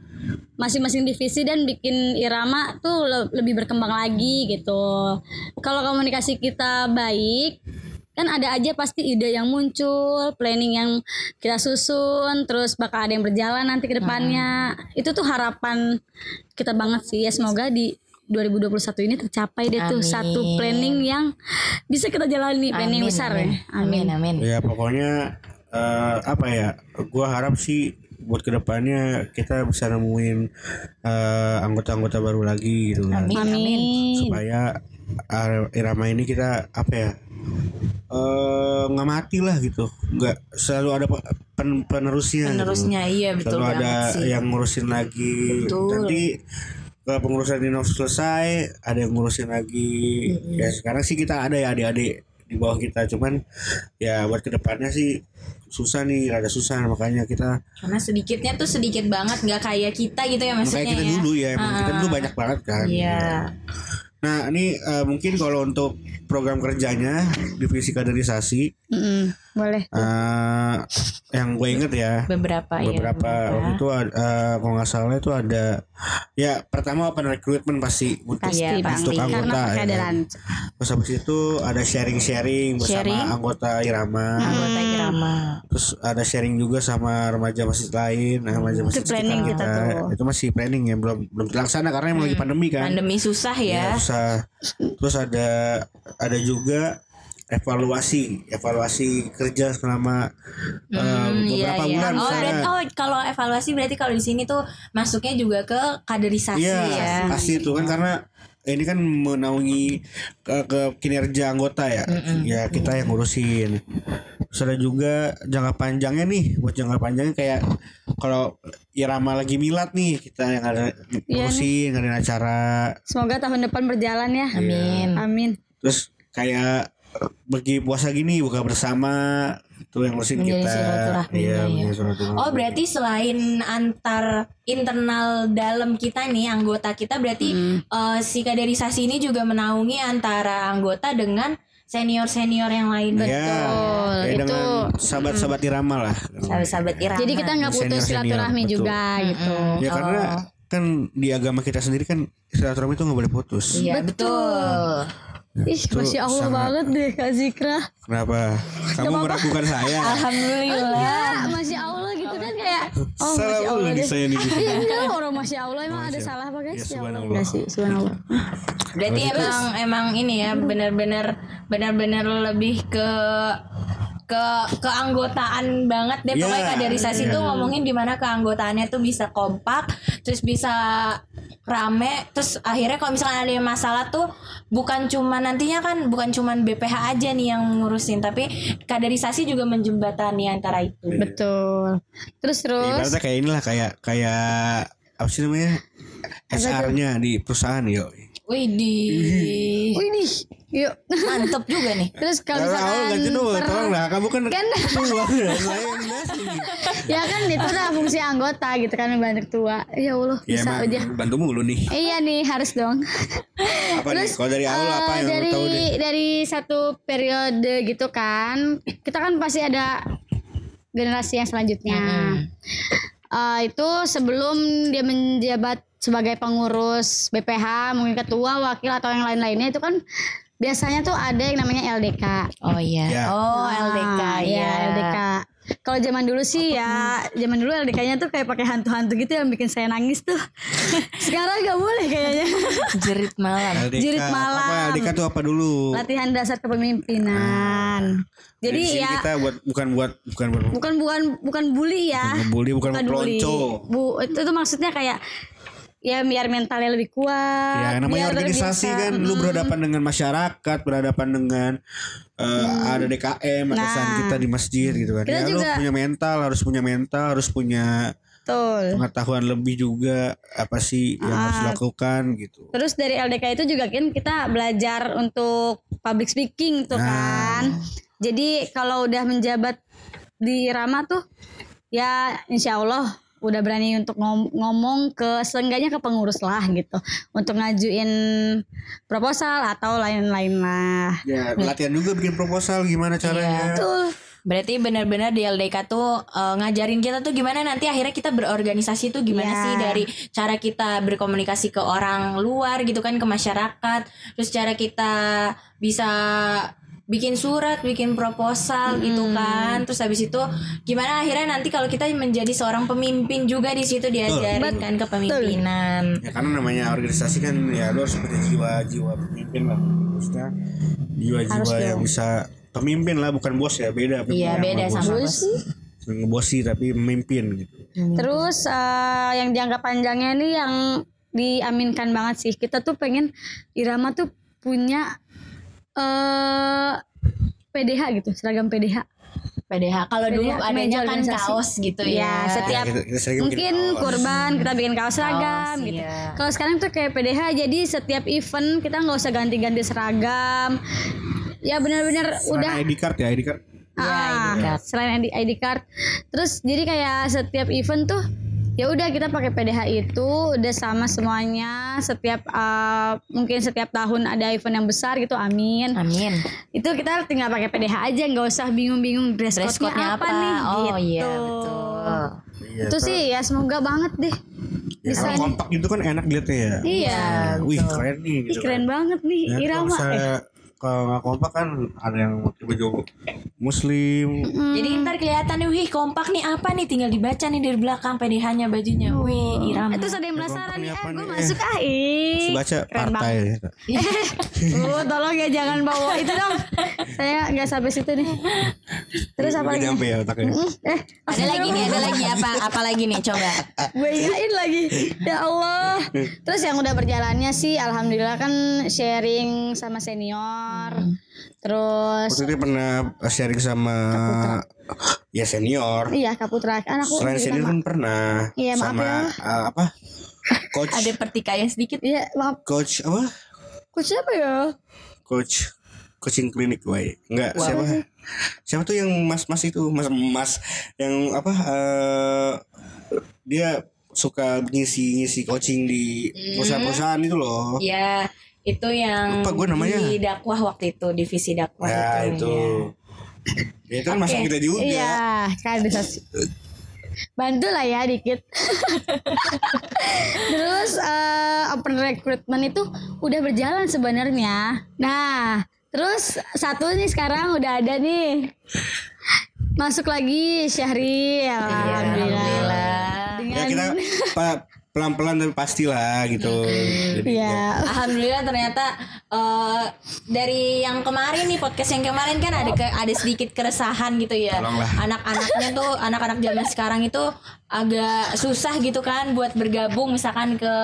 Speaker 3: masing-masing divisi dan bikin irama tuh le- lebih berkembang lagi gitu. Kalau komunikasi kita baik, kan ada aja pasti ide yang muncul, planning yang kita susun, terus bakal ada yang berjalan nanti ke depannya. Itu tuh harapan kita banget sih. Ya semoga di 2021 ini tercapai deh tuh
Speaker 2: Amin.
Speaker 3: satu planning yang bisa kita jalani, planning besar ya.
Speaker 2: Amin, amin.
Speaker 4: Ya pokoknya eh, apa ya? Gua harap sih buat kedepannya kita bisa nemuin eh, anggota-anggota baru lagi gitu kan.
Speaker 2: Amin. amin.
Speaker 3: Amin.
Speaker 4: Supaya ar- irama ini kita apa ya? eh, nggak mati lah gitu, nggak selalu ada pe- pen- penerusnya. gitu.
Speaker 2: Penerusnya iya betul
Speaker 4: selalu
Speaker 2: banget
Speaker 4: ada
Speaker 2: sih.
Speaker 4: yang ngurusin lagi.
Speaker 2: Betul.
Speaker 4: Nanti kalau pengurusan Dinov selesai, ada yang ngurusin lagi. Ya sekarang sih kita ada ya adik-adik di bawah kita, cuman ya buat kedepannya sih susah nih, rada susah makanya kita
Speaker 2: Karena sedikitnya tuh sedikit banget nggak kayak kita gitu ya maksudnya
Speaker 4: makanya kita
Speaker 2: ya.
Speaker 4: dulu ya, emang kita dulu banyak banget kan.
Speaker 2: Iya.
Speaker 4: Nah ini eh, mungkin kalau untuk program kerjanya divisi kaderisasi
Speaker 3: Mm-mm, boleh.
Speaker 4: Eh, yang gue inget ya
Speaker 2: beberapa, ya,
Speaker 4: beberapa waktu itu ada, eh, kalau nggak salah itu ada ya pertama open recruitment pasti untuk
Speaker 3: Pasti
Speaker 2: Iya,
Speaker 3: pasti
Speaker 4: untuk
Speaker 3: karena
Speaker 4: anggota ya.
Speaker 3: keadaan.
Speaker 4: terus habis itu ada sharing sharing bersama
Speaker 2: Sharing.
Speaker 4: anggota irama
Speaker 2: anggota irama
Speaker 4: terus ada sharing juga sama remaja masjid lain nah, remaja masjid sekitar
Speaker 3: planning
Speaker 2: gitu
Speaker 3: kita tuh.
Speaker 4: itu masih planning ya belum belum terlaksana karena emang lagi pandemi kan
Speaker 2: pandemi susah ya
Speaker 4: Iya, susah. terus ada ada juga evaluasi evaluasi kerja selama eh,
Speaker 2: iya,
Speaker 4: beberapa
Speaker 2: iya.
Speaker 4: bulan
Speaker 2: oh,
Speaker 4: misalnya.
Speaker 2: berarti- oh, kalau evaluasi berarti kalau di sini tuh masuknya juga ke kaderisasi
Speaker 4: Iya,
Speaker 2: ya
Speaker 4: pasti itu kan karena ini kan menaungi ke, ke kinerja anggota ya. Ya kita yang ngurusin. Terus ada juga jangka panjangnya nih, buat jangka panjangnya kayak kalau irama lagi milat nih kita yang
Speaker 2: Iya
Speaker 4: ada ngurusin, ngadain acara.
Speaker 3: Semoga tahun depan berjalan ya.
Speaker 2: Amin.
Speaker 3: Amin.
Speaker 4: Terus kayak eh, pergi puasa gini buka bersama itu yang ngurusin
Speaker 2: Menjadi
Speaker 4: kita. Iya,
Speaker 2: silaturahminya ya.
Speaker 4: menjadi silaturahmi.
Speaker 2: Oh berarti selain antar internal dalam kita nih anggota kita berarti
Speaker 4: Mm-hmm.
Speaker 2: eh, si kaderisasi ini juga menaungi antara anggota dengan senior senior yang lain
Speaker 4: Ya, kayak
Speaker 3: itu.
Speaker 4: dengan sahabat-sahabat
Speaker 2: Mm.
Speaker 4: irama lah.
Speaker 2: sahabat-sahabat irama.
Speaker 3: Jadi kita nggak putus
Speaker 4: Senior-senior,
Speaker 3: silaturahmi
Speaker 4: betul.
Speaker 3: juga gitu.
Speaker 4: Ya karena kan di agama kita sendiri kan silaturahmi itu nggak boleh putus.
Speaker 2: Iya betul.
Speaker 3: Ih, masya Allah
Speaker 4: sangat-
Speaker 3: banget deh Kak Zikra.
Speaker 4: Kenapa? Kamu meragukan saya?
Speaker 2: Alhamdulillah.
Speaker 3: Enggak, masya Allah gitu kan kayak. Oh,
Speaker 4: Salah
Speaker 3: masya Allah
Speaker 4: ulang
Speaker 3: deh.
Speaker 4: saya nih.
Speaker 3: Iya, enggak, orang masya Allah emang ada salah apa
Speaker 4: Ya,
Speaker 3: guys? Ya Allah.
Speaker 4: subhanallah.
Speaker 3: Enggak sih, subhanallah.
Speaker 2: Berarti emang emang ini
Speaker 4: Hmm.
Speaker 2: ya benar-benar benar-benar lebih ke ke keanggotaan banget deh pokoknya
Speaker 4: Iya,
Speaker 2: kaderisasi tuh ngomongin dimana keanggotaannya tuh bisa kompak terus bisa rame terus akhirnya kalau misalkan ada yang masalah tuh bukan cuma nantinya kan bukan cuma BPH aja nih yang ngurusin tapi kaderisasi juga menjembatani antara itu
Speaker 3: Betul. Terus terus.
Speaker 4: Ibaratnya kayak inilah kayak kayak apa sih namanya? SR-nya di perusahaan yo.
Speaker 2: wih di Iya.
Speaker 3: Wih, nih, yuk.
Speaker 2: mantep juga nih
Speaker 3: Terus kalau
Speaker 4: Kalau
Speaker 3: misalkan
Speaker 4: aku oh, ganti dulu,
Speaker 3: per-
Speaker 4: tolong lah. Kamu kan
Speaker 3: Kan.
Speaker 4: tua, saya yang nasi.
Speaker 3: ya kan itu udah fungsi anggota gitu kan banyak tua. Ya Allah,
Speaker 4: Ya
Speaker 3: bisa
Speaker 4: emang
Speaker 3: aja.
Speaker 4: bantu mulu nih.
Speaker 3: Iya nih harus dong.
Speaker 4: Apa nih? Kalau dari awal
Speaker 3: Eh,
Speaker 4: apa yang lu
Speaker 3: dari
Speaker 4: tahu deh?
Speaker 3: dari satu periode gitu kan, kita kan pasti ada generasi yang selanjutnya. Eh, itu sebelum dia menjabat sebagai pengurus BPH, mungkin ketua, wakil atau yang lain-lainnya itu kan biasanya tuh ada yang namanya LDK.
Speaker 2: oh iya
Speaker 4: Ya.
Speaker 2: oh
Speaker 3: Ah,
Speaker 2: LDK ya
Speaker 3: iya, LDK. Kalau zaman dulu sih ya, zaman dulu LDK-nya tuh kayak pakai hantu-hantu gitu yang bikin saya nangis tuh. Sekarang nggak boleh kayaknya.
Speaker 2: jerit malam
Speaker 4: LDK.
Speaker 3: Jirit
Speaker 4: Apa
Speaker 3: malam.
Speaker 4: LDK tuh apa dulu?
Speaker 3: Latihan dasar kepemimpinan. Jadi
Speaker 4: Dari sini
Speaker 3: ya
Speaker 4: kita buat bukan buat bukan buat
Speaker 3: bukan bukan bukan bully ya.
Speaker 4: ngebully, bukan
Speaker 3: Bukan bully.
Speaker 4: pelonco.
Speaker 3: Bu, itu tuh maksudnya kayak ya biar mentalnya lebih kuat.
Speaker 4: Ya namanya
Speaker 3: biar
Speaker 4: organisasi
Speaker 3: terbiasa.
Speaker 4: kan lu berhadapan dengan masyarakat, berhadapan dengan eh, ada DKM, atasan
Speaker 3: Nah.
Speaker 4: kita di masjid gitu kan.
Speaker 3: Kita
Speaker 4: ya lu
Speaker 3: juga-
Speaker 4: punya mental, harus punya mental, harus punya
Speaker 3: Betul.
Speaker 4: pengetahuan lebih juga apa sih yang harus dilakukan gitu.
Speaker 3: Terus dari LDK itu juga kan kita belajar untuk public speaking tuh kan. Jadi kalau udah menjabat di Rama tuh ya insya Allah udah berani untuk ngom- ngomong ke seenggaknya ke pengurus lah gitu untuk ngajuin proposal atau lain-lain lah.
Speaker 4: Ya, latihan juga bikin proposal gimana caranya.
Speaker 3: Tuh
Speaker 2: Berarti benar-benar di LDK tuh eh, ngajarin kita tuh gimana nanti akhirnya kita berorganisasi tuh gimana
Speaker 3: Iya.
Speaker 2: sih dari cara kita berkomunikasi ke orang luar gitu kan ke masyarakat, terus cara kita bisa bikin surat, bikin proposal gitu kan. Terus habis itu gimana akhirnya nanti kalau kita menjadi seorang pemimpin juga di situ diajarin kan kepemimpinan.
Speaker 4: Ya karena namanya organisasi kan ya lu harus punya jiwa-jiwa pemimpin lah. Maksudnya jiwa-jiwa yang bisa pemimpin lah bukan bos ya, beda.
Speaker 2: Iya,
Speaker 4: pemimpin
Speaker 2: beda sama bos.
Speaker 4: ngebosi tapi memimpin gitu.
Speaker 3: Terus eh, yang jangka panjangnya nih yang diaminkan banget sih. Kita tuh pengen Irama tuh punya eh PDH gitu, seragam PDH.
Speaker 2: PDH. Kalau dulu
Speaker 3: PDH,
Speaker 2: adanya
Speaker 3: meja
Speaker 2: kan
Speaker 3: organisasi.
Speaker 2: kaos gitu
Speaker 3: Ya,
Speaker 2: ya.
Speaker 3: setiap
Speaker 4: Iya, Kita- kita sering bikin
Speaker 3: mungkin
Speaker 4: kaos.
Speaker 3: kurban kita bikin kaos seragam
Speaker 2: Kaos,
Speaker 3: gitu.
Speaker 2: iya.
Speaker 3: Kalau sekarang tuh kayak PDH jadi setiap event kita nggak usah ganti-ganti seragam. Ya benar-benar udah
Speaker 4: Karena ID card ya, ID card.
Speaker 2: Iya,
Speaker 3: Ah, selain ID, ID card. Terus jadi kayak setiap event tuh ya udah kita pakai PDH itu udah sama semuanya setiap eh, mungkin setiap tahun ada event yang besar gitu amin
Speaker 2: Amin.
Speaker 3: itu kita tinggal pakai PDH aja nggak usah bingung-bingung dress
Speaker 2: Dress code-nya
Speaker 3: code-nya apa,
Speaker 2: apa?
Speaker 3: nih
Speaker 2: Oh,
Speaker 3: gitu
Speaker 2: iya, betul.
Speaker 4: Iya,
Speaker 3: itu sih ya semoga banget deh
Speaker 4: Ya,
Speaker 3: bisa
Speaker 4: kalau
Speaker 3: di-
Speaker 4: kompak gitu kan enak liatnya ya.
Speaker 3: iya
Speaker 4: Wih keren nih.
Speaker 3: Ih,
Speaker 4: Gitu
Speaker 3: keren
Speaker 4: kan.
Speaker 3: banget nih
Speaker 4: Ya,
Speaker 3: Irama
Speaker 4: Kalau
Speaker 3: eh,
Speaker 4: misalnya kalau nggak kompak kan ada yang pakai baju muslim.
Speaker 2: Jadi
Speaker 3: Hmm.
Speaker 2: ntar kelihatan nih, wih kompak nih apa nih tinggal dibaca nih dari belakang PDH-nya bajunya.
Speaker 3: Hmm.
Speaker 2: Wih, Irama.
Speaker 3: Eh, terus ada yang
Speaker 4: Ya, kompak nih
Speaker 3: penasaran nih eh
Speaker 4: apa
Speaker 3: gue
Speaker 4: nih,
Speaker 3: masuk ah
Speaker 4: Terus
Speaker 3: ih
Speaker 4: baca partai. gitu.
Speaker 3: Oh, tolong ya jangan bawa itu dong. Saya nggak sampai situ nih. Terus apa
Speaker 4: Nggak
Speaker 3: lagi?
Speaker 4: nyampe ya otaknya.
Speaker 3: Eh,
Speaker 2: Ada lagi nih, ada lagi apa apa lagi nih coba.
Speaker 3: gue ingatin lagi. Ya Allah. Terus yang udah berjalannya sih alhamdulillah kan sharing sama senior. Terus
Speaker 4: Waktu itu pernah sharing sama ya senior.
Speaker 3: iya Kak Putra. Kan aku
Speaker 4: Selain senior
Speaker 3: sama-
Speaker 4: kan pernah
Speaker 3: Iya, maaf
Speaker 4: sama
Speaker 3: ya.
Speaker 4: eh, apa? Coach
Speaker 2: Ada pertikaian sedikit.
Speaker 3: Iya, maaf.
Speaker 4: coach apa?
Speaker 3: Kok siapa ya?
Speaker 4: Coach coaching klinik gue. Enggak,
Speaker 2: Wah.
Speaker 4: siapa? Siapa tuh yang mas-mas itu? Mas-mas yang apa eh, dia suka ngisi-ngisi coaching di
Speaker 2: Hmm.
Speaker 4: perusahaan-perusahaan itu loh.
Speaker 2: Ya, itu yang
Speaker 4: Lupa gue Oh. namanya.
Speaker 2: di dakwah waktu itu, divisi dakwah
Speaker 4: Ya
Speaker 2: itu.
Speaker 4: itu. Ya itu kan masuk
Speaker 2: Oke.
Speaker 4: kita juga.
Speaker 3: Iya, kan bisa sih. Bantu lah ya dikit. Terus eh, open recruitment itu udah berjalan sebenarnya. Nah, terus satu nih sekarang udah ada nih. Masuk lagi Syahril.
Speaker 2: Alhamdulillah.
Speaker 3: Alhamdulillah.
Speaker 4: Iya, Ya
Speaker 3: Dengan Iya,
Speaker 4: kita pa- pelan-pelan tapi pastilah gitu.
Speaker 2: Hmm.
Speaker 4: Jadi ya,
Speaker 3: Iya.
Speaker 2: Alhamdulillah ternyata eh, dari yang kemarin nih podcast yang kemarin kan ada ke, ada sedikit keresahan gitu ya.
Speaker 4: Tolonglah.
Speaker 2: Anak-anaknya tuh anak-anak zaman sekarang itu agak susah gitu kan buat bergabung misalkan ke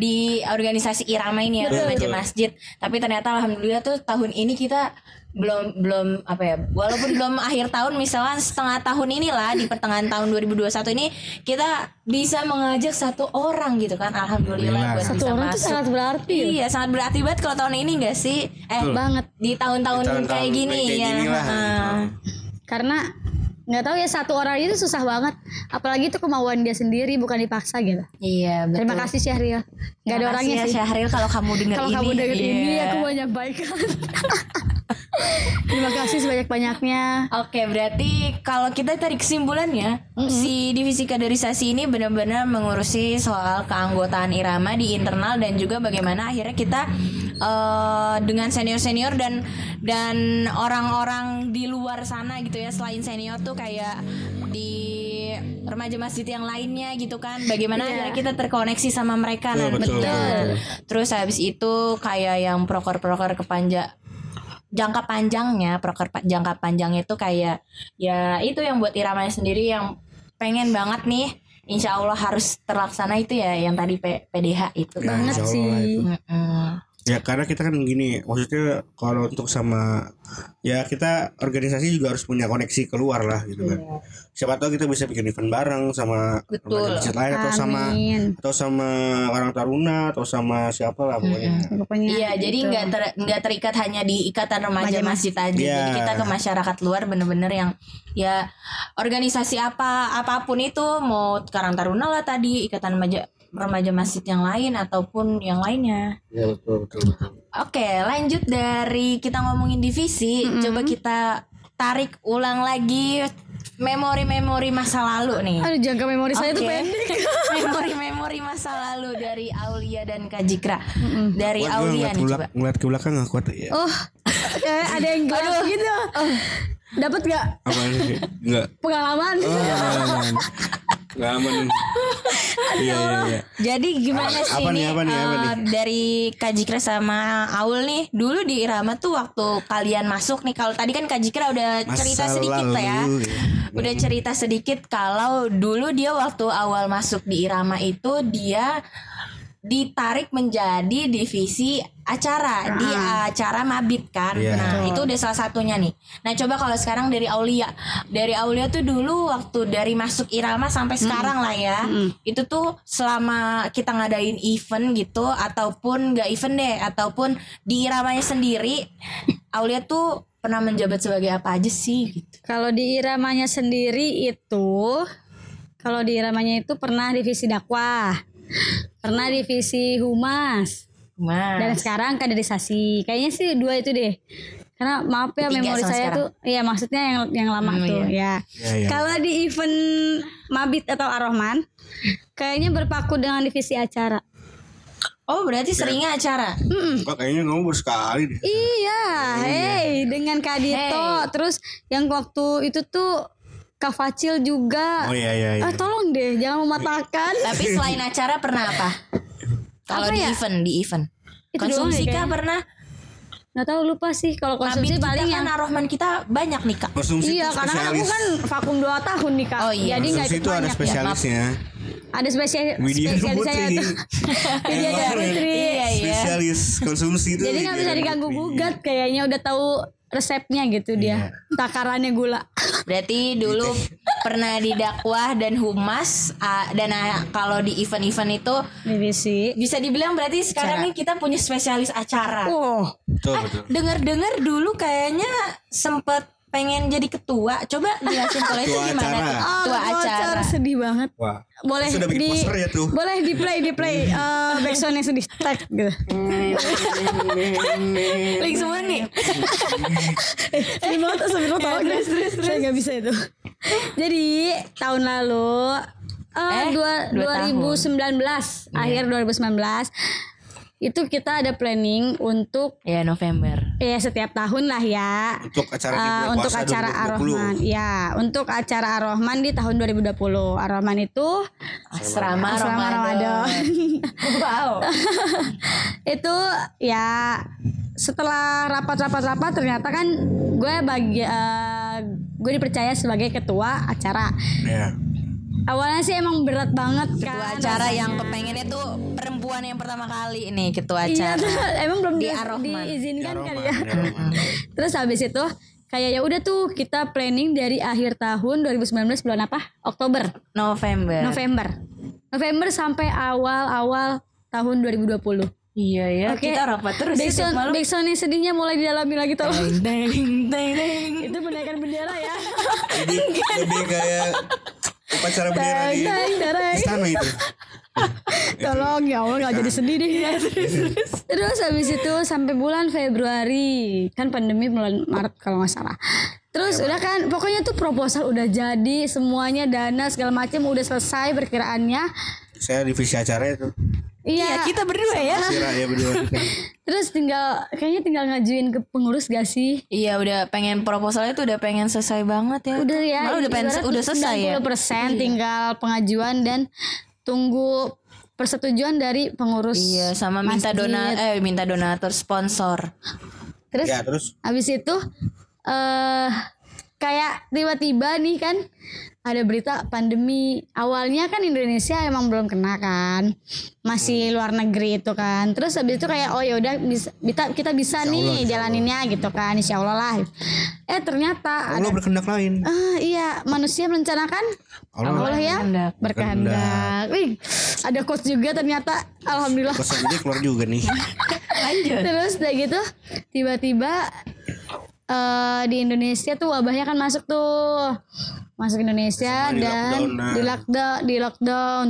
Speaker 2: di organisasi irama ini ya remaja
Speaker 4: Betul.
Speaker 2: masjid. Tapi ternyata alhamdulillah tuh tahun ini kita belum belum apa ya walaupun belum akhir tahun misalkan setengah tahun inilah di pertengahan tahun 2021 ini kita bisa mengajak satu orang gitu kan alhamdulillah buat
Speaker 3: satu
Speaker 2: bisa
Speaker 3: orang itu
Speaker 2: masuk.
Speaker 3: sangat berarti ya.
Speaker 2: Iya sangat berarti banget kalau tahun ini gak sih Eh
Speaker 3: banget
Speaker 2: di tahun-tahun
Speaker 4: Di tahun-tahun
Speaker 2: kayak gini
Speaker 4: kayak
Speaker 2: ya
Speaker 4: gini lah. gitu.
Speaker 2: Heeh.
Speaker 3: karena nggak tahu ya satu orang itu susah banget apalagi itu kemauan dia sendiri bukan dipaksa gitu
Speaker 2: Iya betul
Speaker 3: terima kasih Syahril nggak ada
Speaker 2: Terima
Speaker 3: orangnya
Speaker 2: kasih ya,
Speaker 3: sih
Speaker 2: Syahril kalau kamu dengar
Speaker 3: Kalau
Speaker 2: ini
Speaker 3: kamu dengar
Speaker 2: Iya.
Speaker 3: ini aku banyak baikan. Terima kasih sebanyak-banyaknya.
Speaker 2: Oke, berarti kalau kita tarik kesimpulannya, si divisi kaderisasi ini benar-benar mengurusi soal keanggotaan irama di internal dan juga bagaimana akhirnya kita eh, dengan senior-senior dan dan orang-orang di luar sana gitu ya selain senior tuh kayak di remaja masjid yang lainnya gitu kan. Bagaimana akhirnya kita terkoneksi sama mereka
Speaker 4: Betul,
Speaker 2: Nan.
Speaker 4: betul, betul.
Speaker 2: Terus habis itu kayak yang proker-proker kepanja jangka panjangnya proker pa- jangka panjang itu kayak ya itu yang buat iramanya sendiri yang pengen banget nih insya Allah harus terlaksana itu ya yang tadi P- PDH itu
Speaker 4: Ya,
Speaker 3: Banget
Speaker 4: insya Allah
Speaker 3: sih.
Speaker 4: lah itu.
Speaker 2: Mm-mm.
Speaker 4: Ya karena kita kan gini, maksudnya kalau untuk sama ya kita organisasi juga harus punya koneksi keluar lah gitu kan.
Speaker 3: Iya.
Speaker 4: Siapa tahu kita bisa bikin event bareng sama
Speaker 2: Betul.
Speaker 4: remaja masjid lain atau Ya, sama
Speaker 3: Amin.
Speaker 4: atau sama orang taruna atau sama siapa lah pokoknya.
Speaker 3: Pokoknya.
Speaker 2: Iya, jadi
Speaker 3: gitu.
Speaker 2: nggak ter- nggak terikat hanya di ikatan remaja
Speaker 3: Remaja
Speaker 2: masjid aja. Jadi
Speaker 4: Iya.
Speaker 2: kita ke masyarakat luar bener-bener yang ya organisasi apa apapun itu mau Karang Taruna lah tadi ikatan remaja remaja masjid yang lain ataupun yang lainnya.
Speaker 4: Ya betul betul. betul.
Speaker 2: Oke, lanjut dari kita ngomongin divisi, coba kita tarik ulang lagi memori-memori masa lalu nih.
Speaker 3: Aduh jangka memori saya tuh
Speaker 2: Oke.
Speaker 3: pendek.
Speaker 2: Memori-memori masa lalu dari Aulia dan Kajikra. Dari
Speaker 4: Gua- gua
Speaker 2: Aulia nih
Speaker 4: ngeliat ke
Speaker 2: coba.
Speaker 4: belak- ngeliat ke belakang gak kuat ya.
Speaker 3: Oh, kayak ada yang gelap gitu.
Speaker 2: Oh.
Speaker 3: Dapat nggak
Speaker 4: Apaan sih? Enggak.
Speaker 3: pengalaman?
Speaker 4: Oh, nggak aman. Nggak aman. Iya iya iya.
Speaker 2: Jadi gimana
Speaker 4: Apa-
Speaker 2: sih
Speaker 4: apa
Speaker 2: ini
Speaker 4: nih, apa nih, apa
Speaker 2: eh,
Speaker 4: nih?
Speaker 2: dari Kajikra sama Aul nih dulu di Irama tuh waktu kalian masuk nih kalau tadi kan Kajikra udah
Speaker 4: Masa
Speaker 2: cerita sedikit lah ya.
Speaker 4: lalu.
Speaker 2: Udah cerita sedikit kalau dulu dia waktu awal masuk di Irama itu dia ditarik menjadi divisi acara di acara mabit kan.
Speaker 4: Iya.
Speaker 2: Nah, itu udah salah satunya nih. Nah, coba kalau sekarang dari Aulia. Dari Aulia tuh dulu waktu dari masuk Irama sampai sekarang lah ya. Itu tuh selama kita ngadain event gitu ataupun nggak event deh ataupun di Iramanya sendiri Aulia tuh pernah menjabat sebagai apa aja sih gitu.
Speaker 3: Kalau di iramanya sendiri itu kalau di iramanya itu pernah divisi dakwah, pernah divisi humas, dan
Speaker 2: Mas.
Speaker 3: sekarang kaderisasi. Kayaknya sih dua itu deh. Karena maaf ya
Speaker 2: Tiga
Speaker 3: memori
Speaker 2: sama
Speaker 3: saya
Speaker 2: sekarang.
Speaker 3: tuh ya maksudnya yang yang lama
Speaker 2: Hmm,
Speaker 3: tuh ya.
Speaker 4: Ya, ya.
Speaker 3: Kalau di event Mabit atau Arohman kayaknya berpaku dengan divisi acara.
Speaker 2: Oh, berarti seringnya acara.
Speaker 4: Kok kayaknya kamu baru sekali deh.
Speaker 3: Iya, hey, dengan Kadito
Speaker 2: Hey.
Speaker 3: terus yang waktu itu tuh Kak Facil juga.
Speaker 4: Oh iya iya iya.
Speaker 3: Ah, tolong deh jangan mematahkan.
Speaker 2: Tapi selain acara pernah apa? Kalau
Speaker 3: Apa
Speaker 2: di
Speaker 3: ya?
Speaker 2: event, di event.
Speaker 3: Itu
Speaker 2: Konsumsi kah
Speaker 3: doang ya kayaknya.
Speaker 2: pernah?
Speaker 3: Nggak tahu lupa sih kalau
Speaker 2: Konsumsi
Speaker 3: konsumsi paling
Speaker 2: kita
Speaker 3: yang
Speaker 2: kan Arohman kita banyak nih kak.
Speaker 4: Konsumsi
Speaker 3: Iya,
Speaker 4: itu
Speaker 3: karena kan aku
Speaker 4: spesialis.
Speaker 3: kan vakum 2 tahun nih kak.
Speaker 2: Oh, iya.
Speaker 3: Jadi nggak
Speaker 4: Konsumsi itu
Speaker 3: ikut
Speaker 4: ada
Speaker 3: banyak ya.
Speaker 4: spesialisnya.
Speaker 3: Ada spesialis
Speaker 4: Widya
Speaker 3: spesialisnya
Speaker 4: Putri.
Speaker 3: itu. Widya
Speaker 4: Emang
Speaker 3: Putri.
Speaker 2: Iya, iya.
Speaker 4: Spesialis konsumsi Iya. itu.
Speaker 3: Jadi nggak bisa
Speaker 4: Widya
Speaker 3: diganggu
Speaker 4: Putri.
Speaker 3: gugat kayaknya udah tahu resepnya gitu
Speaker 4: Iya.
Speaker 3: dia. Takarannya gula.
Speaker 2: Berarti dulu pernah di dakwah dan humas ah, dan ah, kalau di event-event itu
Speaker 3: BBC.
Speaker 2: bisa dibilang berarti sekarang
Speaker 3: Acara. Oh.
Speaker 2: nih kita punya spesialis acara.
Speaker 3: Wow.
Speaker 4: Betul betul.
Speaker 2: Dengar-dengar dulu kayaknya sempet pengen jadi ketua. Coba jelasin kalau itu
Speaker 4: Ketua
Speaker 2: gimana
Speaker 4: acara.
Speaker 2: tuh?
Speaker 3: Oh,
Speaker 2: Ketua acara.
Speaker 3: sedih banget.
Speaker 4: Wah.
Speaker 3: Boleh
Speaker 4: Sudah bikin
Speaker 3: di
Speaker 4: poster ya tuh. Iya.
Speaker 3: Boleh di play di play eh backsoundnya sedih tag gitu.
Speaker 2: Link semua nih.
Speaker 3: Sedih banget sebelum tolong Eh, terus, terus, Saya nggak bisa itu. Jadi tahun lalu eh,
Speaker 2: Eh,
Speaker 3: dua,
Speaker 2: dua tahun.
Speaker 3: 2019
Speaker 4: Iya.
Speaker 3: akhir 2019 itu kita ada planning untuk
Speaker 2: Ya November.
Speaker 3: ya setiap tahun lah ya
Speaker 4: Untuk acara di
Speaker 3: Eh,
Speaker 4: bulan
Speaker 3: untuk
Speaker 4: puasa
Speaker 3: acara
Speaker 4: 2020.
Speaker 3: Ar-Rahman ya untuk acara Ar-Rahman di tahun 2020 Ar-Rahman itu
Speaker 2: Asrama,
Speaker 3: Asrama
Speaker 2: Ramadan.
Speaker 3: Ramadan.
Speaker 2: wow.
Speaker 3: itu ya setelah rapat-rapat-rapat ternyata kan gue bagi eh, gue dipercaya sebagai ketua acara
Speaker 4: Ya.
Speaker 3: awalnya sih emang berat banget kan
Speaker 2: Ketua acara yang kepengennya tuh perempuan yang pertama kali nih ketua
Speaker 3: iya
Speaker 2: ya, acara.
Speaker 3: tuh, emang belum
Speaker 2: Di
Speaker 3: di,
Speaker 2: Ar-Rahman.
Speaker 3: diizinkan
Speaker 4: Aroma,
Speaker 3: kali ya
Speaker 4: aroma.
Speaker 3: terus habis itu kayak ya udah tuh kita planning dari akhir tahun 2019 bulan apa Oktober
Speaker 2: November.
Speaker 3: November November sampai awal-awal tahun 2020
Speaker 2: Iya ya.
Speaker 3: Oke.
Speaker 2: Kita rapat terus ya
Speaker 3: Backsound,
Speaker 2: tiap malam.
Speaker 3: backsound yang sedihnya mulai didalami lagi tolong
Speaker 2: Deng, deng, deng, deng.
Speaker 3: itu menaikkan bendera ya
Speaker 4: Lebih lebih kayak upacara bendera di
Speaker 3: Teng, tereng.
Speaker 4: istana itu.
Speaker 3: gitu. tolong ya Allah nggak jadi sedih deh Iya, terus habis itu sampai bulan Februari kan pandemi bulan Maret kalau nggak salah terus udah kan pokoknya tuh proposal udah jadi semuanya dana segala macam udah selesai perkiraannya
Speaker 4: Saya divisi acara itu.
Speaker 3: iya
Speaker 2: Kita berdua ya.
Speaker 4: Kira ya berdua.
Speaker 3: terus tinggal kayaknya tinggal ngajuin ke pengurus gak sih
Speaker 2: Iya udah pengen proposalnya tuh udah pengen selesai banget ya.
Speaker 3: udah ya
Speaker 2: Malah udah pengen udah selesai ya.
Speaker 3: persen tinggal pengajuan dan tunggu persetujuan dari pengurus
Speaker 2: Iya sama minta
Speaker 3: masjid.
Speaker 2: dona eh minta donatur sponsor.
Speaker 3: terus
Speaker 4: Ya terus
Speaker 3: Habis itu eh kayak tiba-tiba nih kan ada berita pandemi. Awalnya kan Indonesia emang belum kena kan. Masih luar negeri itu kan. Terus habis itu kayak oh ya udah bisa- kita kita bisa nih jalaninnya gitu kan Insya Allah lah. Eh ternyata ada
Speaker 4: Allah berkendak lain.
Speaker 3: Ah, iya, manusia merencanakan
Speaker 4: Allah
Speaker 3: Allah, ya
Speaker 2: berkehendak.
Speaker 3: berkehendak. Wih, ada coach juga ternyata alhamdulillah.
Speaker 4: Kosan ini keluar juga nih.
Speaker 2: Lanjut.
Speaker 3: Terus udah gitu tiba-tiba eh di Indonesia tuh wabahnya kan masuk tuh masuk Indonesia
Speaker 4: Semua di
Speaker 3: dan
Speaker 4: lockdown, nah.
Speaker 3: di lockdown di lockdown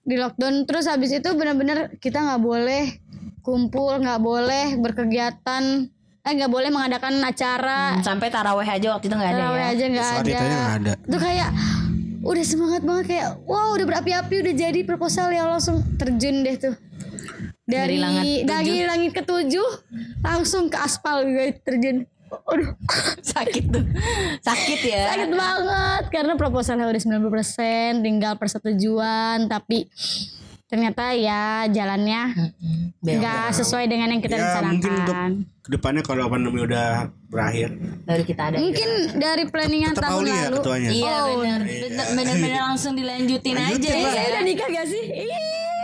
Speaker 3: di lockdown terus habis itu benar-benar kita nggak boleh kumpul nggak boleh berkegiatan eh nggak boleh mengadakan acara
Speaker 2: Sampai taraweh aja waktu itu nggak ada
Speaker 3: Terawih
Speaker 2: ya.
Speaker 3: aja nggak
Speaker 4: Soal
Speaker 3: ada.
Speaker 4: ditanya nggak ada.
Speaker 3: Itu kayak udah semangat banget kayak wow udah berapi-api udah jadi proposal ya langsung terjun deh tuh.
Speaker 2: Dari
Speaker 3: Dari
Speaker 2: langit
Speaker 3: dari langit,
Speaker 2: tujuh.
Speaker 3: ketujuh langsung ke aspal gue terjun. Aduh,
Speaker 2: Sakit tuh. Sakit ya.
Speaker 3: sakit banget karena proposalnya udah 90% tinggal persetujuan tapi ternyata ya jalannya nggak sesuai dengan yang kita
Speaker 4: ya
Speaker 3: rencanakan.
Speaker 4: mungkin untuk kedepannya kalau pandemi udah berakhir.
Speaker 2: Baru kita ada.
Speaker 3: Mungkin dari planningan
Speaker 4: Tetap
Speaker 3: tahun
Speaker 4: Auli ya
Speaker 3: lalu.
Speaker 4: ketuanya.
Speaker 2: Iya Mm. bener Bener-bener langsung dilanjutin aja
Speaker 4: Lanjutin
Speaker 2: ya.
Speaker 4: lah.
Speaker 3: Eh, Udah nikah gak sih? Ih.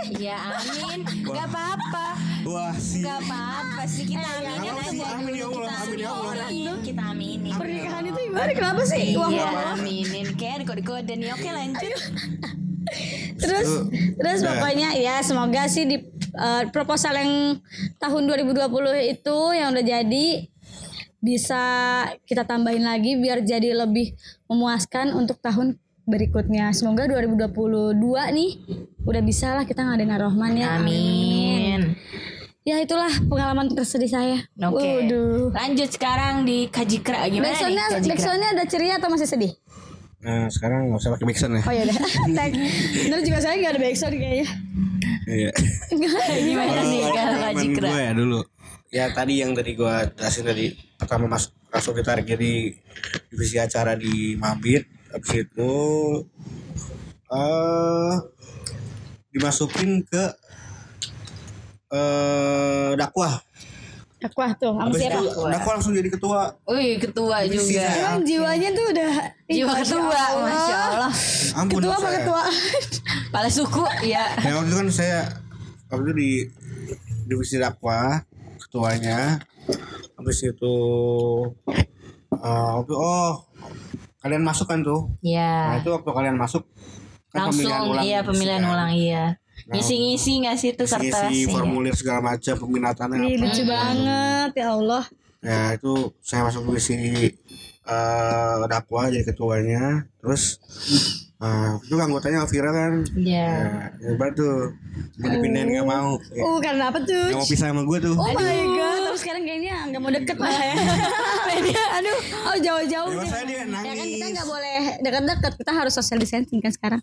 Speaker 2: Iya amin. Gak apa-apa.
Speaker 4: Wah sih.
Speaker 2: Gak apa-apa sih kita aminin
Speaker 4: apa
Speaker 2: aja
Speaker 4: sih? Eh, iya. Amin ya
Speaker 2: dulu.
Speaker 4: Allah,
Speaker 2: Kita
Speaker 4: amin ya Allah. ya
Speaker 2: aminin. Kita aminin.
Speaker 3: pernikahan itu gimana kenapa sih uang
Speaker 2: Iya aminin. Kayak kode-kode nih. Oke lanjut.
Speaker 3: terus terus pokoknya ya semoga sih di eh, proposal yang tahun 2020 itu yang udah jadi bisa kita tambahin lagi biar jadi lebih memuaskan untuk tahun berikutnya. Semoga 2022 nih udah bisa lah kita ngadain Ar-Rahman ya.
Speaker 2: Amin.
Speaker 3: Ya itulah pengalaman tersedih saya.
Speaker 2: Oke.
Speaker 3: Waduh.
Speaker 2: Lanjut sekarang di Kajikra gimana
Speaker 3: Backsoundnya,
Speaker 2: nih? Kajikra?
Speaker 3: backsoundnya ada ceria atau masih sedih?
Speaker 4: Nah, sekarang nggak usah pakai mixer ya.
Speaker 3: Oh iya deh. Tag. Bener juga saya nggak ada backsound kayaknya.
Speaker 4: Iya.
Speaker 2: Gimana nih
Speaker 3: kan
Speaker 2: kalau Kajikra?
Speaker 4: gue ya dulu. Ya tadi yang tadi gue jelasin tadi pertama masuk masuk ditarik jadi divisi acara di Mabit. Habis itu eh dimasukin ke eh dakwah. ah
Speaker 3: Dakwah tuh sama
Speaker 4: Habis
Speaker 3: siapa?
Speaker 4: itu dakwah langsung jadi ketua.
Speaker 2: Wih, ketua
Speaker 4: Divisi
Speaker 2: juga.
Speaker 4: saya.
Speaker 3: Emang jiwanya tuh udah Ih,
Speaker 2: Jiwa ketua, masya Allah.
Speaker 4: Ampun, ya.
Speaker 3: Ketua apa
Speaker 4: saya.
Speaker 3: ketua?
Speaker 2: Kepala suku, ya.
Speaker 4: Nah, waktu itu kan saya waktu itu di divisi dakwah ketuanya habis itu eh, waktu oh kalian masuk kan tuh nah
Speaker 2: Ya.
Speaker 4: itu waktu kalian masuk kan
Speaker 2: Langsung, iya pemilihan
Speaker 4: kan.
Speaker 2: ulang, iya.
Speaker 4: Nah,
Speaker 2: Ngisi-ngisi nggak sih itu kertas?
Speaker 4: isi
Speaker 2: Iya.
Speaker 4: formulir segala macam peminatan
Speaker 3: Ih, Iya, lucu banget ya Allah.
Speaker 4: ya itu saya masuk divisi eh dakwah jadi ketuanya terus eh, itu anggotanya Alvira kan
Speaker 2: Iya.
Speaker 4: Ya, hebat tuh. Mau dipindahin gak mau. Gak
Speaker 3: Uh karena apa tuh?
Speaker 4: mau pisah sama gue tuh.
Speaker 3: Oh my god, terus sekarang kayaknya nggak mau deket malah ya. Kayaknya, aduh, oh jauh-jauh.
Speaker 4: Ya,
Speaker 3: deh.
Speaker 4: maksudnya dia
Speaker 3: Ya kan kita
Speaker 4: nangis.
Speaker 3: nggak boleh deket-deket, kita harus social distancing kan sekarang.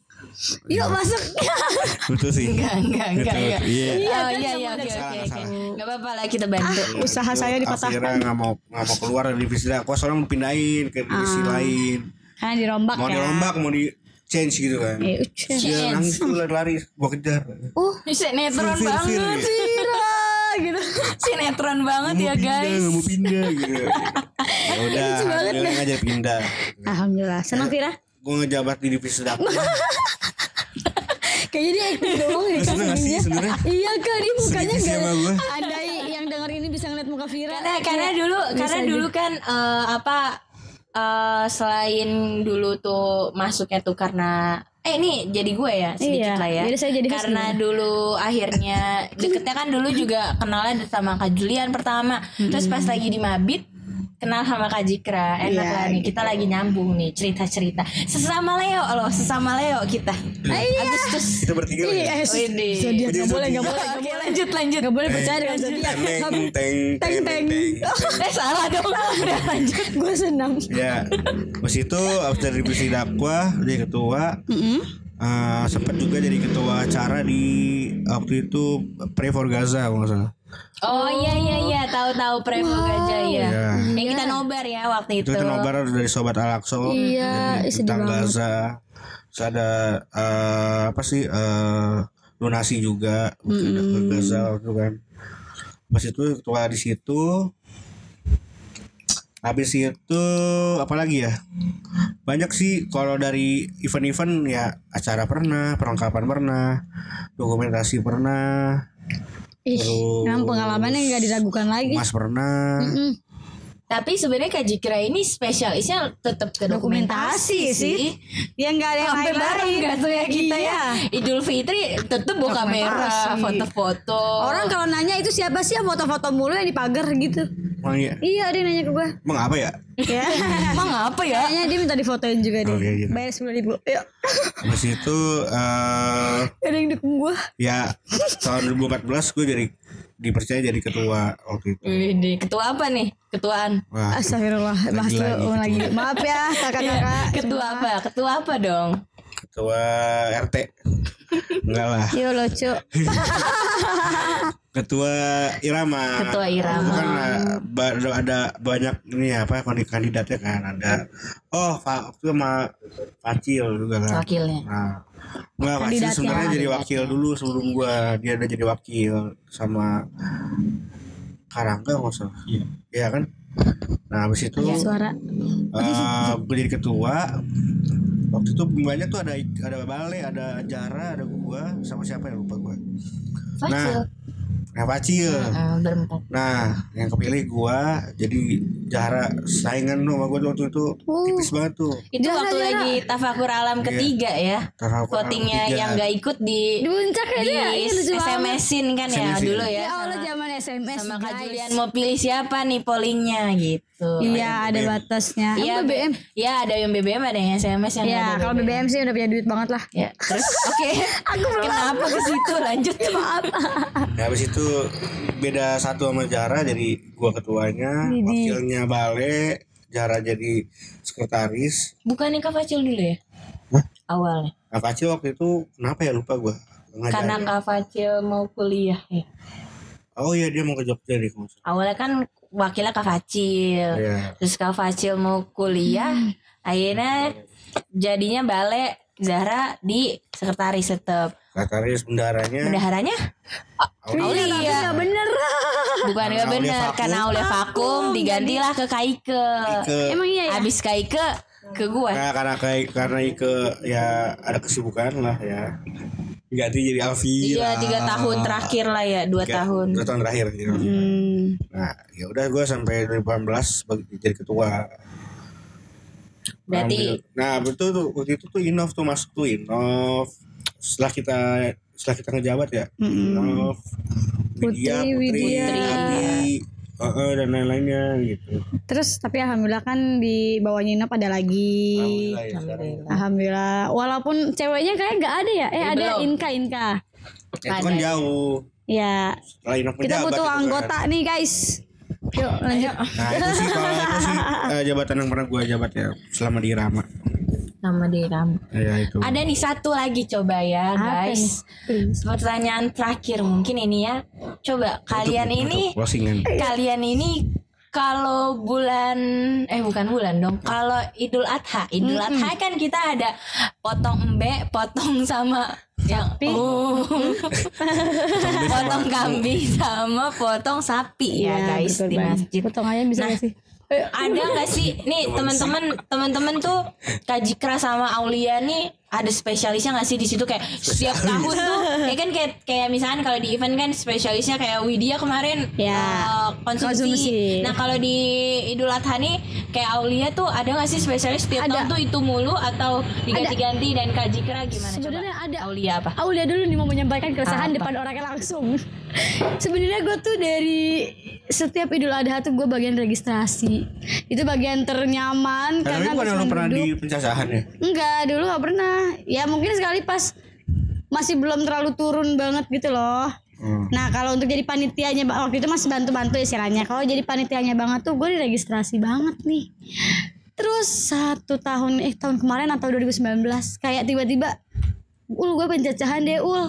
Speaker 4: Iya.
Speaker 3: Yuk masuk.
Speaker 4: Betul sih.
Speaker 2: Enggak, enggak, enggak, enggak.
Speaker 4: Iya.
Speaker 2: Iya,
Speaker 3: kan,
Speaker 2: iya, iya,
Speaker 3: sama
Speaker 2: oke,
Speaker 3: ada
Speaker 2: oke,
Speaker 4: salah,
Speaker 2: oke.
Speaker 4: salah.
Speaker 2: Nggak apa-apa lah kita bantu.
Speaker 3: Usaha saya
Speaker 4: Akhirnya
Speaker 3: dipatahkan
Speaker 4: nggak mau nggak mau keluar dari divisi dakwah soalnya mau pindahin ke divisi
Speaker 3: Ah.
Speaker 4: lain.
Speaker 3: karena dirombak
Speaker 4: Mau
Speaker 3: ya.
Speaker 4: dirombak, mau di change gitu kan.
Speaker 3: Eh, uceh.
Speaker 4: Dia nangis tuh lari-lari, gua kejar.
Speaker 3: Uh,
Speaker 2: Ini Sinetron
Speaker 4: Fir, fir,
Speaker 2: banget,
Speaker 4: fir.
Speaker 3: Tira gitu.
Speaker 2: sinetron banget ya
Speaker 4: Pindah,
Speaker 2: guys.
Speaker 4: nggak mau pindah gitu. ya udah, dia ngajak pindah.
Speaker 3: Alhamdulillah. Senang Vira?
Speaker 4: Gue ngejabat di divisi dakwah.
Speaker 3: Kayaknya dia acting doang ya
Speaker 4: Lu seneng gak sih
Speaker 3: kasihnya.
Speaker 4: sebenarnya?
Speaker 3: Iya kak, dia mukanya
Speaker 4: Sedikit sih
Speaker 3: gak
Speaker 4: sama gua.
Speaker 3: ada yang denger ini bisa ngeliat muka Vira.
Speaker 2: Karena karena dulu karena dulu kan eh, apa eh, selain dulu tuh masuknya tuh karena eh ini jadi gue ya sedikit
Speaker 3: Iya,
Speaker 2: lah ya.
Speaker 3: jadi saya jadi host
Speaker 2: karena
Speaker 3: gimana?
Speaker 2: dulu akhirnya deketnya kan dulu juga kenalnya sama Kak Julian pertama. Terus pas lagi di Mabit kenal sama Kak Jikra enak
Speaker 3: Iya,
Speaker 2: lah nih kita lagi nyambung nih cerita cerita sesama Leo loh sesama Leo kita Agustus
Speaker 4: Kita bertiga lagi.
Speaker 3: Iya,
Speaker 2: Widih.
Speaker 3: zodiak
Speaker 4: Jadi
Speaker 3: gak boleh,
Speaker 4: zodiak.
Speaker 3: gak boleh,
Speaker 2: Oke lanjut lanjut
Speaker 3: gak boleh percaya dengan zodiak.
Speaker 4: Teng, teng, teng, teng, teng.
Speaker 2: Eh salah dong Udah lanjut
Speaker 3: Gue senang.
Speaker 4: ya pas itu abis dari divisi dakwah jadi ketua Eh, sempat juga jadi ketua acara di waktu itu Pray for Gaza kalau nggak salah
Speaker 2: Oh iya iya iya tahu-tahu Premo aja ya.
Speaker 4: Iya.
Speaker 2: Yang kita nobar ya waktu
Speaker 4: itu
Speaker 2: itu.
Speaker 4: itu nobar dari sobat Al Aqsa
Speaker 3: Gitu. Iya,
Speaker 4: jadi
Speaker 3: ih, sedih
Speaker 4: tentang
Speaker 3: banget.
Speaker 4: Gaza terus ada eh, apa sih eh, donasi juga untuk ke Gaza waktu itu kan pas itu ketua di situ habis itu apalagi ya banyak sih kalau dari event-event ya acara pernah perlengkapan pernah dokumentasi pernah
Speaker 3: Ih,
Speaker 4: Terus.
Speaker 3: emang pengalamannya gak diragukan lagi.
Speaker 4: emas pernah
Speaker 3: Mm.
Speaker 2: Tapi sebenarnya Kak Jikra ini spesialisnya tetap ke dokumentasi,
Speaker 3: Dokumentasi
Speaker 2: sih.
Speaker 3: sih. Ya gak ada yang
Speaker 2: Sampai bareng
Speaker 3: lain-lain.
Speaker 2: gak tuh ya kita
Speaker 3: Iya.
Speaker 2: ya Idul Fitri tetep buka merah
Speaker 3: Dokumentasi.
Speaker 2: Foto-foto
Speaker 3: Orang kalau nanya itu siapa sih yang foto-foto mulu yang di pagar gitu.
Speaker 4: Emang iya
Speaker 3: Iya, dia nanya ke gue.
Speaker 4: emang apa ya
Speaker 3: Ya.
Speaker 2: Emang apa ya
Speaker 3: Kayaknya dia minta difotoin juga deh.
Speaker 4: Oke, gitu.
Speaker 3: Bayar sepuluh ribu. Yuk.
Speaker 4: habis itu eh,
Speaker 3: Ada yang dukung gue.
Speaker 4: ya tahun 2014 gue jadi dipercaya jadi ketua waktu itu
Speaker 2: Widih, Ketua apa nih? Ketuaan
Speaker 4: wah
Speaker 3: Astagfirullah. Bahas
Speaker 4: lagi,
Speaker 3: dulu ulang lagi. Maaf ya kakak-kakak.
Speaker 2: Ketua apa? Ketua apa dong?
Speaker 4: ketua RT enggak lah
Speaker 3: Yo lucu.
Speaker 4: ketua Irama
Speaker 2: Ketua Irama.
Speaker 4: Itu kan eh, ba- ada, ada banyak ini ya, apa kandid- kandidatnya kan ada oh Fa- waktu itu sama Facil juga kan
Speaker 2: Wakilnya
Speaker 4: nah Enggak, Facil
Speaker 3: Kandidatnya,
Speaker 4: sebenarnya jadi wakil dulu sebelum gua dia udah jadi wakil sama Karangga nggak usah iya kan nah habis itu
Speaker 3: Suara.
Speaker 4: Eh, gue jadi ketua waktu itu banyak tuh ada ada balai ada jara ada gua sama siapa ya lupa gua nah
Speaker 2: Facil
Speaker 4: nah Pacil
Speaker 2: Eh, Berempat
Speaker 4: nah yang kepilih gua jadi Jahara saingan lu sama gue waktu itu tipis banget tuh
Speaker 2: Itu
Speaker 3: Jarang,
Speaker 2: waktu
Speaker 3: jarang.
Speaker 2: lagi tafakur alam ketiga ya.
Speaker 4: Tafakur Iya. Alam
Speaker 2: Votingnya
Speaker 4: ketiga.
Speaker 2: yang gak ikut di
Speaker 3: Di puncak ya dia, iya,
Speaker 2: di
Speaker 3: lucu banget.
Speaker 2: SMS-in kan ya
Speaker 4: SMS-in.
Speaker 2: dulu ya.
Speaker 3: Ya Allah
Speaker 2: sama-
Speaker 3: zaman SMS
Speaker 2: sama Kak
Speaker 3: guys.
Speaker 2: Julian mau pilih siapa nih pollingnya gitu.
Speaker 3: Iya ada batasnya. Iya BBM.
Speaker 2: Iya, ada yang BBM, ada yang SMS yang
Speaker 3: Ya
Speaker 2: ada
Speaker 3: kalau BBM sih udah punya duit banget lah.
Speaker 2: Ya, terus oke.
Speaker 3: Aku belum.
Speaker 2: Kenapa ke situ lanjut? Maaf.
Speaker 4: Nah, habis itu beda satu sama Jara jadi gua ketuanya, wakilnya Bale, Jara jadi sekretaris.
Speaker 2: Bukannya Kak Facil dulu ya?
Speaker 4: Hah?
Speaker 2: Awalnya.
Speaker 4: Nah, Facil waktu itu kenapa ya lupa gua. Nggak
Speaker 2: Karena
Speaker 4: jadi.
Speaker 2: Kak Facil mau kuliah ya.
Speaker 4: Oh iya dia mau ke Jogja deh kalau nggak salah.
Speaker 2: Awalnya kan wakilnya Kak Facil.
Speaker 4: Iya.
Speaker 2: Terus Kak Facil mau kuliah,
Speaker 3: Hmm.
Speaker 2: akhirnya jadinya balik Zahra di sekretaris tetap.
Speaker 4: Sekretaris bendaranya.
Speaker 2: Bendaharanya? Aulia.
Speaker 3: Tapi nggak bener.
Speaker 2: Bukan
Speaker 4: Karena
Speaker 2: gak
Speaker 4: Aulia
Speaker 2: bener
Speaker 4: vakum.
Speaker 2: karena oleh vakum digantilah ke Kaike.
Speaker 4: Ike.
Speaker 3: Emang iya ya.
Speaker 2: Habis Kaike ke gue.
Speaker 4: Nah, karena kayak karena Ike ya ada kesibukan lah ya. Ganti jadi Alvira.
Speaker 2: Iya tiga tahun terakhir lah ya dua
Speaker 4: Tiga-
Speaker 2: tahun. Mm.
Speaker 4: Dua tahun terakhir. gitu.
Speaker 3: Hmm.
Speaker 4: Nah, ya udah gua sampai 2018 bagi- jadi ketua.
Speaker 2: Berarti
Speaker 4: Ambil. nah betul tuh waktu itu tuh Innov tuh masuk tuh Innov setelah kita setelah kita ngejabat ya Innov Widya
Speaker 3: Putri,
Speaker 4: Putri
Speaker 3: Widya.
Speaker 4: Abi, eh, dan lain-lainnya gitu
Speaker 3: Terus tapi alhamdulillah kan di bawahnya Inop ada lagi.
Speaker 4: Alhamdulillah ya sekarang.
Speaker 3: Alhamdulillah. Walaupun ceweknya kayak nggak ada ya. Eh
Speaker 2: Jadi
Speaker 3: ada
Speaker 2: belum.
Speaker 3: Inka Inka.
Speaker 4: Ya, itu kan jauh
Speaker 3: Ya.
Speaker 4: setelah Innov
Speaker 3: Kita
Speaker 4: ngejabat itu
Speaker 3: butuh
Speaker 4: kan.
Speaker 3: anggota nih guys. Yuk lanjut.
Speaker 4: nah itu sih kalau itu sih eh, jabatan yang pernah gue jabat ya selama di Rama
Speaker 2: nama di Ram.
Speaker 4: ya itu
Speaker 2: Ada nih satu lagi coba ya
Speaker 3: Apa
Speaker 2: guys. Pertanyaan terakhir mungkin ini ya. Coba kalian ini
Speaker 4: closingan
Speaker 2: kalian ini kalau bulan eh bukan bulan dong. Kalau Idul Adha, Idul Adha kan kita ada potong embe, potong sama yang Oh. potong kambing sama potong sapi ya, guys di masjid.
Speaker 3: Iya, Potongannya bisa nggak sih?
Speaker 2: ada nggak sih nih teman-teman teman-teman tuh Kajikra sama Aulia nih ada spesialisnya nggak sih di situ kayak setiap tahun tuh ya kan kayak kayak misalkan kalau di event kan spesialisnya kayak Widya kemarin
Speaker 3: Ya,
Speaker 2: eh, konsumsi.
Speaker 3: konsumsi.
Speaker 2: nah kalau di Idul Adha nih kayak Aulia tuh ada nggak sih spesialis setiap
Speaker 3: Ada.
Speaker 2: tahun tuh itu mulu atau diganti-ganti dan Kajikra gimana
Speaker 3: Sebenarnya
Speaker 2: coba
Speaker 3: ada.
Speaker 2: Aulia apa
Speaker 3: Aulia dulu nih mau menyampaikan keresahan
Speaker 2: Apa?
Speaker 3: depan orangnya langsung. Sebenarnya gue tuh dari setiap Idul Adha tuh gue bagian registrasi. Itu bagian ternyaman
Speaker 4: Nah, tapi
Speaker 3: karena
Speaker 4: bukan
Speaker 3: habis
Speaker 4: lu pernah
Speaker 3: menduduk-
Speaker 4: di pencacahan ya
Speaker 3: Enggak, dulu gak pernah. Ya mungkin sekali pas masih belum terlalu turun banget gitu loh.
Speaker 4: Hmm.
Speaker 3: Nah kalau untuk jadi panitianya Ba- waktu itu masih bantu-bantu istilahnya. Kalau jadi panitianya banget tuh gue diregistrasi banget nih. Terus satu tahun eh tahun kemarin atau 2019 kayak tiba-tiba ul gue pencacahan deh ul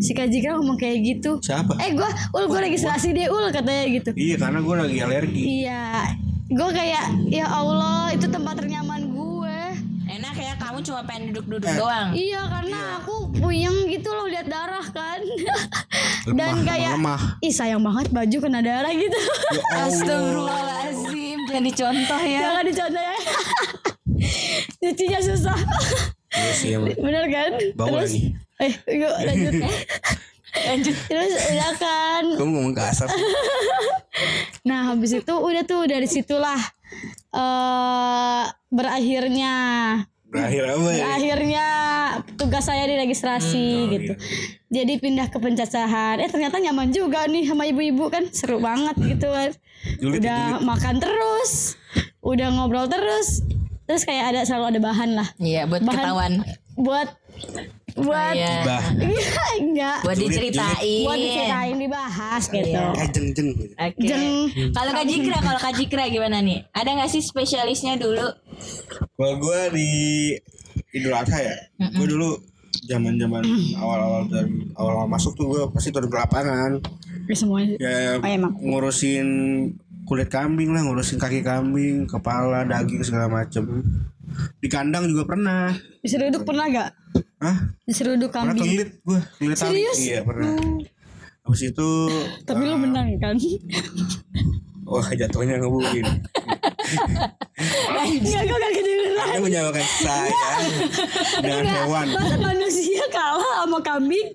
Speaker 3: si Kak Jikra ngomong kayak gitu
Speaker 4: siapa
Speaker 3: eh gue ul gue registrasi deh ul katanya gitu
Speaker 4: iya karena gue lagi alergi
Speaker 3: iya gue kayak ya Allah itu tempat ternyaman gue
Speaker 2: enak ya kamu cuma pengen duduk-duduk doang
Speaker 3: Iya karena aku puyeng gitu loh lihat darah kan.
Speaker 4: Lemah,
Speaker 3: Dan kayak
Speaker 4: lemah.
Speaker 3: ih sayang banget baju kena darah gitu.
Speaker 4: Ya Oh.
Speaker 2: Astagfirullahaladzim Jadi contoh ya
Speaker 3: Jangan dicontoh ya. Cucinya susah.
Speaker 4: Iya sih emang.
Speaker 3: Bener kan?
Speaker 4: Bau
Speaker 3: Terus
Speaker 4: lagi.
Speaker 3: eh yuk lanjut.
Speaker 2: Lanjut
Speaker 3: Terus udah kan.
Speaker 4: Kamu ngomong kasar
Speaker 3: Nah, habis itu udah tuh dari situlah eh berakhirnya
Speaker 4: Berakhir apa ya?
Speaker 3: akhirnya tugas saya diregistrasi
Speaker 4: Hmm, oh,
Speaker 3: gitu.
Speaker 4: iya.
Speaker 3: Jadi pindah ke pencacahan. Eh ternyata nyaman juga nih sama ibu-ibu kan seru banget gitu kan.
Speaker 4: Julid,
Speaker 3: udah makan terus, udah ngobrol terus. Terus kayak ada selalu ada bahan lah
Speaker 2: Iya buat
Speaker 3: Bahan-
Speaker 2: ketahuan
Speaker 3: buat buat
Speaker 2: Iya.
Speaker 4: Bah.
Speaker 3: Iya, enggak.
Speaker 2: Buat iya.
Speaker 4: Julid,
Speaker 2: diceritain
Speaker 3: Buat diceritain dibahas gitu.
Speaker 4: Eh jeng jeng. gitu.
Speaker 2: Oke.
Speaker 3: Jeng.
Speaker 2: Kalau Kak Jikra, kalau Kak Jikra gimana nih? Ada nggak sih spesialisnya dulu?
Speaker 4: Kalau gue di Idul Adha ya, gue dulu zaman zaman awal awal dari awal awal masuk tuh gue pasti turun ke lapangan
Speaker 3: Ya, semuanya.
Speaker 4: ya
Speaker 3: Oh, emang.
Speaker 4: ngurusin kulit kambing lah ngurusin kaki kambing kepala daging segala macem di kandang juga pernah
Speaker 3: Diseruduk pernah gak?
Speaker 4: Hah?
Speaker 3: Diseruduk
Speaker 4: pernah
Speaker 3: kambing.
Speaker 4: kelit gue kelit tarik.
Speaker 3: Serius?
Speaker 4: iya pernah habis itu
Speaker 3: Tapi
Speaker 4: Ah.
Speaker 3: lu menang kan?
Speaker 4: wah jatuhnya ngebukin
Speaker 3: Enggak, kok gitu? gak kedengeran.
Speaker 4: Anda menyamakan saya dengan hewan
Speaker 3: Masa manusia kalah sama kambing?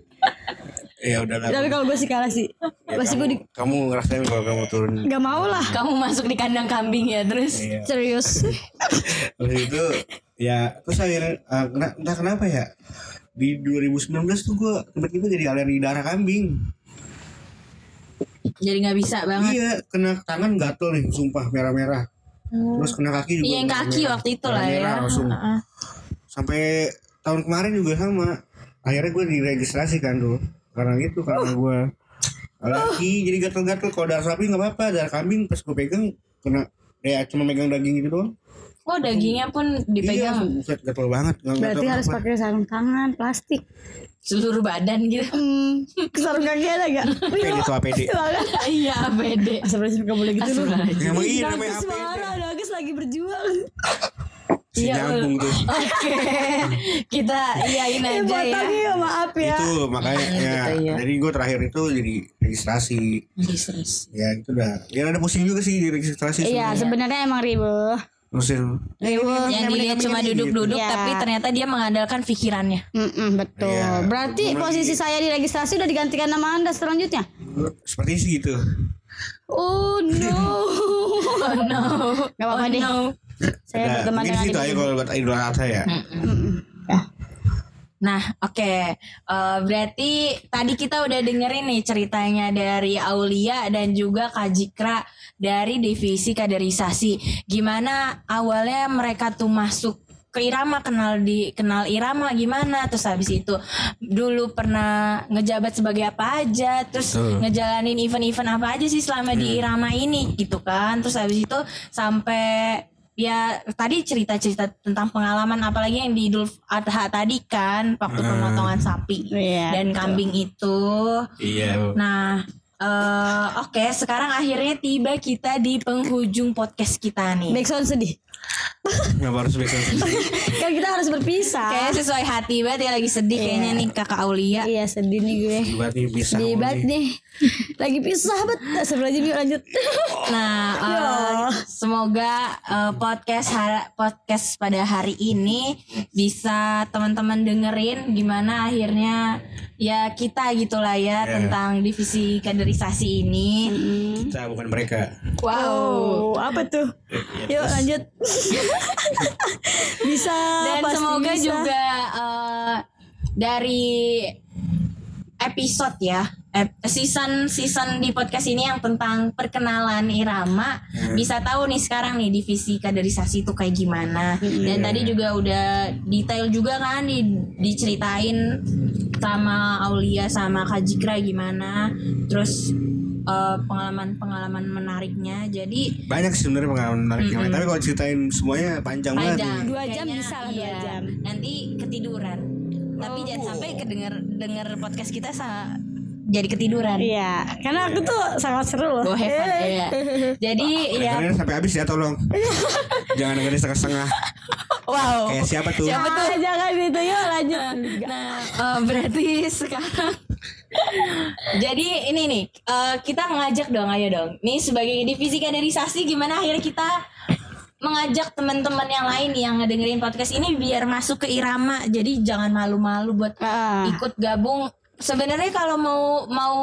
Speaker 4: ya udah lah
Speaker 3: Tapi kalau gue sih kalah sih.
Speaker 4: Ya,
Speaker 3: Pasti gue
Speaker 4: kamu,
Speaker 3: di-
Speaker 4: kamu ngerasain kalau kamu turun
Speaker 3: nggak mau lah.
Speaker 2: Kamu masuk di kandang kambing ya terus.
Speaker 4: Iya.
Speaker 3: Serius.
Speaker 4: Terus itu ya terus akhirnya eh, kena- entah kenapa ya di 2019 tuh gue tiba-tiba jadi alergi darah kambing.
Speaker 2: Jadi nggak bisa banget.
Speaker 4: Iya kena tangan gatel nih sumpah merah-merah. Terus kena kaki juga.
Speaker 2: Iya, yang kaki
Speaker 4: merah-merah.
Speaker 2: waktu itu lah ya.
Speaker 4: Merah-merah langsung.
Speaker 2: Heeh.
Speaker 4: Sampai tahun kemarin juga sama. Akhirnya gue diregistrasi kan tuh karena itu
Speaker 2: Oh.
Speaker 4: karena gue laki jadi gatel-gatel kalau darah sapi nggak apa-apa darah kambing pas gue pegang kena ya cuma megang daging gitu doang
Speaker 2: Oh dagingnya pun dipegang
Speaker 4: iya, buset, gatel banget nggak
Speaker 3: Berarti harus
Speaker 4: apa-apa.
Speaker 3: pakai sarung tangan plastik.
Speaker 2: seluruh badan gitu.
Speaker 3: Hmm, sarung kaki ada gak?
Speaker 4: Pede tuh APD.
Speaker 2: Iya pede.
Speaker 3: Astagfirullahaladzim gak boleh gitu loh.
Speaker 2: Astagfirullahaladzim.
Speaker 4: Ya, emang iya namanya
Speaker 3: Nangis
Speaker 4: APD.
Speaker 3: marah, nangis lagi berjuang.
Speaker 4: Si
Speaker 2: Iya,
Speaker 4: nyambung tuh.
Speaker 2: Oke. Kita iyain
Speaker 3: Eh,
Speaker 2: aja ya.
Speaker 3: botaknya ya maaf ya.
Speaker 4: Itu makanya ya.
Speaker 2: gitu ya.
Speaker 4: Jadi gue terakhir itu jadi registrasi.
Speaker 2: Registrasi.
Speaker 4: Ya itu udah. Ya ada pusing juga sih di registrasi.
Speaker 3: Iya, sebenarnya emang ribu.
Speaker 4: Musim.
Speaker 3: Ribu.
Speaker 2: Yang
Speaker 4: Yang
Speaker 2: dia
Speaker 4: ini,
Speaker 2: cuma
Speaker 4: ini,
Speaker 2: duduk-duduk
Speaker 3: gitu.
Speaker 2: tapi
Speaker 3: Iya.
Speaker 2: ternyata dia mengandalkan pikirannya.
Speaker 3: Mm-mm, betul.
Speaker 4: Iya.
Speaker 3: Berarti
Speaker 4: Gua
Speaker 3: posisi saya di registrasi udah digantikan nama Anda selanjutnya.
Speaker 4: Seperti sih gitu.
Speaker 3: Oh no.
Speaker 2: Oh no. Oh,
Speaker 3: Gak apa-apa deh. Saya
Speaker 4: Ada.
Speaker 3: berteman
Speaker 4: Mungkin
Speaker 3: dengan Hmm.
Speaker 4: situ
Speaker 3: adik.
Speaker 4: aja kalau buat Idul Adha ya.
Speaker 2: Nah, oke. Eh, berarti tadi kita udah dengerin nih ceritanya dari Aulia dan juga Kak Jikra dari divisi kaderisasi. Gimana awalnya mereka tuh masuk ke Irama kenal di kenal Irama gimana terus habis itu dulu pernah ngejabat sebagai apa aja terus
Speaker 4: Betul.
Speaker 2: ngejalanin event-event apa aja sih selama di Irama ini gitu kan terus habis itu sampai ya tadi cerita-cerita tentang pengalaman apalagi yang di Idul Adha tadi kan waktu pemotongan sapi
Speaker 3: Iya,
Speaker 2: dan kambing itu
Speaker 4: Iya.
Speaker 2: nah eh, oke sekarang akhirnya tiba kita di penghujung podcast kita nih
Speaker 3: Backsound sedih.
Speaker 4: Kenapa harus bikin
Speaker 3: Kan kita harus berpisah.
Speaker 2: kayaknya sesuai hati banget ya lagi sedih kayaknya nih kakak Aulia
Speaker 3: Iya sedih nih gue.
Speaker 4: Buat nih bisa.
Speaker 3: Sedih banget nih. Lagi pisah bet. Sebelum aja yuk lanjut.
Speaker 2: Nah, eh, semoga eh, podcast har- podcast pada hari ini bisa teman-teman dengerin gimana akhirnya ya kita gitulah ya tentang divisi kaderisasi ini.
Speaker 4: Kita bukan mereka.
Speaker 2: Wow.
Speaker 3: Oh, apa tuh? Yuk lanjut. bisa.
Speaker 2: Dan
Speaker 3: pasti
Speaker 2: semoga
Speaker 3: bisa.
Speaker 2: juga eh, dari episode ya ep- season season di podcast ini yang tentang perkenalan irama bisa tahu nih sekarang nih divisi kaderisasi itu kayak gimana dan tadi juga udah detail juga kan di, diceritain sama Aulia sama Kak Jikra gimana terus eh, pengalaman-pengalaman menariknya jadi
Speaker 4: Banyak sih sebenarnya pengalaman menarik yang
Speaker 3: Hmm.
Speaker 4: lain. Tapi kalau ceritain semuanya panjang,
Speaker 2: panjang
Speaker 4: banget.
Speaker 3: Dua jam
Speaker 2: Kayaknya
Speaker 3: bisa lah, dua
Speaker 2: iya.
Speaker 3: jam. Oh.
Speaker 2: nanti ketiduran tapi jangan sampai kedenger denger podcast kita sa- jadi ketiduran
Speaker 3: Iya, karena aku tuh sangat seru loh.
Speaker 2: Go have fun, iya. jadi ya
Speaker 3: Iya.
Speaker 4: Dengerin sampai habis ya tolong. Jangan dengerin setengah-setengah.
Speaker 2: wow
Speaker 4: Kayak siapa
Speaker 2: Oh,
Speaker 4: tuh?
Speaker 2: Siapa
Speaker 3: Ah, jangan gitu yuk lanjut.
Speaker 2: nah eh, berarti sekarang jadi ini nih eh, kita ngajak dong ayo dong nih sebagai divisi kaderisasi gimana akhirnya kita mengajak teman-teman yang lain yang ngedengerin podcast ini biar masuk ke irama jadi jangan malu-malu buat
Speaker 3: Ah.
Speaker 2: ikut gabung sebenarnya kalau mau mau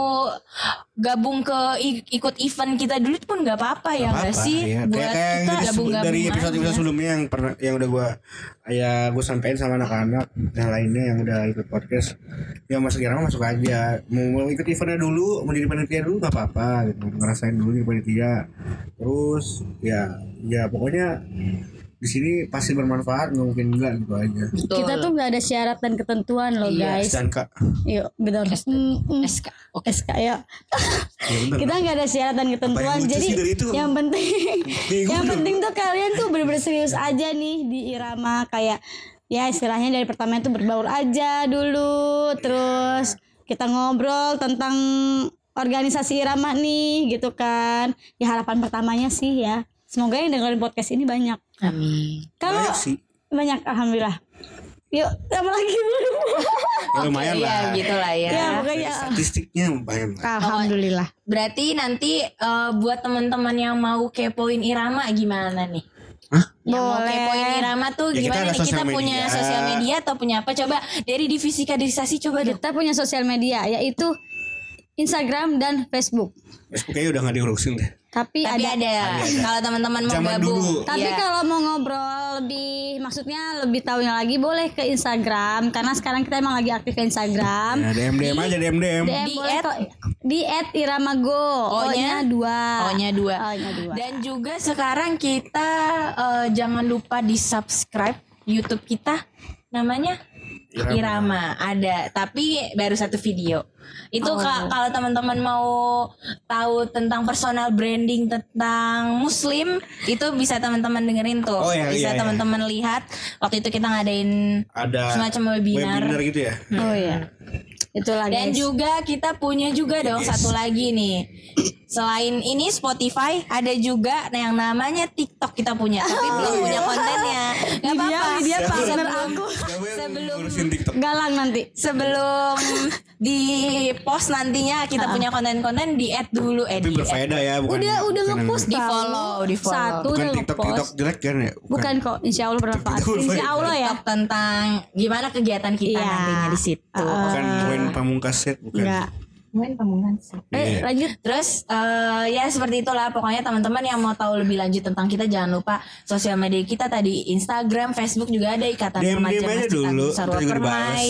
Speaker 2: gabung ke i- ikut event kita dulu pun nggak apa-apa ya nggak
Speaker 4: apa-apa,
Speaker 2: sih
Speaker 4: ya.
Speaker 2: buat
Speaker 4: Kayak- kayak yang
Speaker 2: kita
Speaker 4: dari,
Speaker 2: gabung gabung
Speaker 4: dari episode episode sebelumnya yang pernah yang udah gua ya gua sampein sama anak-anak yang lainnya yang udah ikut podcast yang masuk irama masuk aja mau, mau ikut eventnya dulu mau jadi panitia dulu nggak apa-apa gitu ngerasain dulu jadi panitia terus ya ya pokoknya di sini pasti bermanfaat nggak mungkin enggak gitu aja
Speaker 3: Kita tuh nggak ada syarat dan ketentuan loh
Speaker 2: Iya,
Speaker 3: guys.
Speaker 4: dan kak
Speaker 3: Yuk, benar. Mm, mm.
Speaker 2: SK oke
Speaker 3: SK yuk.
Speaker 4: ya bener
Speaker 3: Kita nggak ada syarat dan ketentuan.
Speaker 4: Apa yang lucu
Speaker 3: Jadi
Speaker 4: sih dari itu?
Speaker 3: yang penting,
Speaker 4: Bingung
Speaker 3: yang
Speaker 4: dong.
Speaker 3: penting tuh kalian tuh bener-bener serius aja nih di irama kayak ya istilahnya dari pertama itu berbaur aja dulu, terus kita ngobrol tentang organisasi irama nih gitu kan. Ya harapan pertamanya sih ya. Semoga yang dengerin podcast ini banyak.
Speaker 2: amin
Speaker 3: Kalau
Speaker 4: banyak sih
Speaker 3: banyak alhamdulillah yuk apa lagi
Speaker 4: Ya, lumayan
Speaker 2: Oke,
Speaker 4: lah
Speaker 2: ya gitu lah ya,
Speaker 3: ya pokoknya
Speaker 4: statistiknya lumayan lah
Speaker 3: alhamdulillah
Speaker 2: berarti nanti eh, buat teman-teman yang mau kepoin irama gimana nih
Speaker 3: Ya,
Speaker 2: Yang mau
Speaker 3: Boleh.
Speaker 2: kepoin Irama tuh
Speaker 4: Ya, kita
Speaker 2: gimana
Speaker 4: ada
Speaker 2: nih kita
Speaker 4: sosial
Speaker 2: punya
Speaker 4: media.
Speaker 2: sosial media atau punya apa coba dari divisi kaderisasi coba deh.
Speaker 3: Kita punya sosial media yaitu Instagram dan Facebook.
Speaker 4: Facebook kayaknya udah gak diurusin deh.
Speaker 3: Tapi,
Speaker 2: Tapi
Speaker 3: ada.
Speaker 2: ada, kalau teman-teman mau
Speaker 4: Zaman
Speaker 2: gabung.
Speaker 4: dulu.
Speaker 3: Tapi kan
Speaker 2: Iya.
Speaker 3: kalau mau ngobrol lebih maksudnya lebih tahunya lagi boleh ke Instagram karena sekarang kita emang lagi aktif Instagram.
Speaker 4: Ya, DM DM aja DM DM.
Speaker 3: DM
Speaker 2: Di
Speaker 3: boleh
Speaker 2: at- Oh, iya?
Speaker 3: kok di at iramago.
Speaker 2: O-nya?
Speaker 3: O-nya dua.
Speaker 2: O-nya dua.
Speaker 3: O-nya dua.
Speaker 2: Dan juga sekarang kita eh, jangan lupa di subscribe YouTube kita namanya Irama. ada tapi baru satu video itu ka- kalau teman-teman mau tahu tentang personal branding tentang muslim itu bisa teman-teman dengerin tuh
Speaker 4: Oh, iya,
Speaker 2: bisa
Speaker 4: iya, iya.
Speaker 2: teman-teman lihat waktu itu kita ngadain
Speaker 4: Ada
Speaker 2: Semacam webinar.
Speaker 4: gitu ya.
Speaker 3: Oh iya. Itulah
Speaker 2: Dan
Speaker 3: guys.
Speaker 2: juga kita punya juga dong satu lagi nih. Selain ini Spotify ada juga yang namanya TikTok kita punya, tapi belum
Speaker 3: Oh,
Speaker 2: punya
Speaker 3: iya.
Speaker 2: kontennya. Gak
Speaker 3: Lydia,
Speaker 2: apa-apa.
Speaker 3: Lydia partner
Speaker 2: sebelum,
Speaker 3: aku.
Speaker 4: Siapa yang ngurusin TikTok?
Speaker 3: galang nanti.
Speaker 2: sebelum di post nantinya
Speaker 3: Ah.
Speaker 2: kita punya konten-konten di add dulu, eh di
Speaker 4: Tapi
Speaker 2: add.
Speaker 4: berfaedah ya bukan.
Speaker 3: Udah udah
Speaker 4: bukan-
Speaker 3: ngepost
Speaker 2: Di
Speaker 3: tau.
Speaker 2: follow, di follow.
Speaker 3: Satu
Speaker 4: Bukan
Speaker 3: udah
Speaker 4: TikTok
Speaker 3: ngepost.
Speaker 4: Tok jelek kan ya?
Speaker 3: Bukan kok, insya Allah bermanfaat.
Speaker 4: Betul,
Speaker 3: Insya
Speaker 4: baik.
Speaker 3: Allah ya.
Speaker 2: TikTok tentang gimana kegiatan kita
Speaker 3: Iya. Ah.
Speaker 2: nantinya di situ.
Speaker 4: Bukan main pamungkas set bukan.
Speaker 3: Enggak.
Speaker 2: Main pamungkas.
Speaker 3: Eh,
Speaker 4: Iya.
Speaker 3: lanjut.
Speaker 2: Terus eh, ya seperti itulah pokoknya teman-teman yang mau tahu lebih lanjut tentang kita jangan lupa sosial media kita tadi Instagram, Facebook juga ada ikatan
Speaker 4: DM
Speaker 2: remaja
Speaker 4: aja
Speaker 2: Masjid
Speaker 4: dulu,
Speaker 2: Agung Sarwa
Speaker 4: ntar juga dibahas.
Speaker 2: Permai,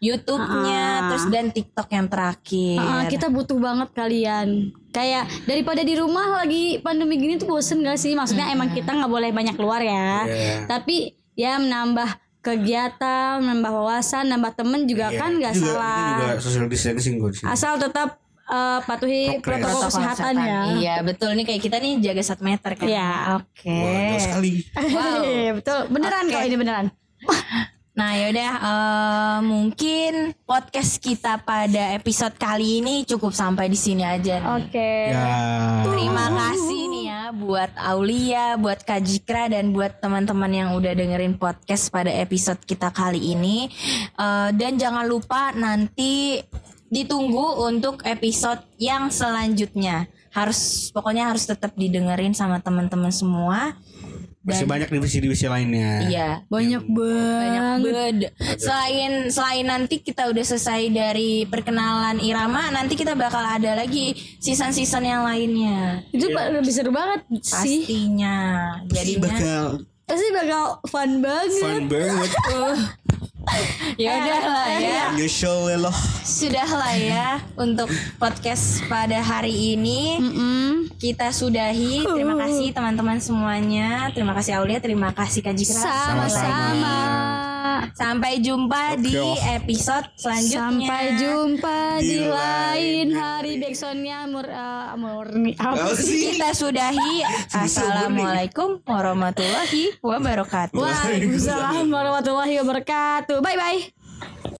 Speaker 2: YouTube-nya,
Speaker 3: Ah.
Speaker 2: terus dan TikTok yang terakhir.
Speaker 3: Ah, kita butuh banget kalian. Kayak daripada di rumah lagi pandemi gini tuh bosen gak sih? Maksudnya emang kita nggak boleh banyak keluar ya.
Speaker 4: Iya.
Speaker 3: Tapi ya menambah kegiatan, menambah wawasan, nambah temen juga kan nggak
Speaker 4: Iya. Itu juga-
Speaker 3: salah.
Speaker 4: Itu juga social distancing kok sih.
Speaker 3: Asal tetap eh, patuhi
Speaker 4: Prokes.
Speaker 3: protokol, kesehatan, ya.
Speaker 2: Iya, betul nih kayak kita nih jaga 1 meter kan.
Speaker 3: Iya.
Speaker 2: Oke.
Speaker 4: Wah, jauh sekali.
Speaker 2: Wow.
Speaker 3: Iya, betul. Beneran
Speaker 2: Oke.
Speaker 3: kok ini beneran.
Speaker 2: Nah yaudah eh, mungkin podcast kita pada episode kali ini cukup sampai di sini aja. nih.
Speaker 3: Oke.
Speaker 4: Ya.
Speaker 2: Terima kasih nih ya buat Aulia, buat Kak Jikra dan buat teman-teman yang udah dengerin podcast pada episode kita kali ini. Eh, dan jangan lupa nanti ditunggu untuk episode yang selanjutnya. Harus pokoknya harus tetap didengerin sama teman-teman semua.
Speaker 4: Masih banyak divisi-divisi lainnya.
Speaker 2: Iya.
Speaker 3: Banyak
Speaker 2: Banyak banget.
Speaker 3: banget.
Speaker 2: Selain selain nanti kita udah selesai dari perkenalan Irama, nanti kita bakal ada lagi season-season yang lainnya.
Speaker 3: Itu lebih seru banget sih.
Speaker 2: Pastinya.
Speaker 4: Pasti
Speaker 2: Jadinya
Speaker 4: bakal
Speaker 3: Pasti bakal fun banget.
Speaker 4: fun banget.
Speaker 2: ya udah Oh.
Speaker 3: Eh,
Speaker 2: lah ya.
Speaker 4: Unusual loh.
Speaker 2: Sudah lah ya untuk podcast pada hari ini
Speaker 3: Mm-mm.
Speaker 2: kita sudahi. Terima
Speaker 3: Uh.
Speaker 2: kasih teman-teman semuanya. Terima kasih Aulia, terima kasih Kak Jikra.
Speaker 3: Sama-sama.
Speaker 2: Sampai jumpa di
Speaker 4: Oke.
Speaker 2: episode selanjutnya.
Speaker 3: Sampai jumpa di
Speaker 4: Di lain
Speaker 3: lain hari backsoundnya mur, eh, murni apa
Speaker 4: Apa
Speaker 3: sih?
Speaker 4: sih?
Speaker 2: Kita sudahi. Assalamualaikum warahmatullahi wabarakatuh.
Speaker 3: Waalaikumsalam warahmatullahi wabarakatuh. Bye bye.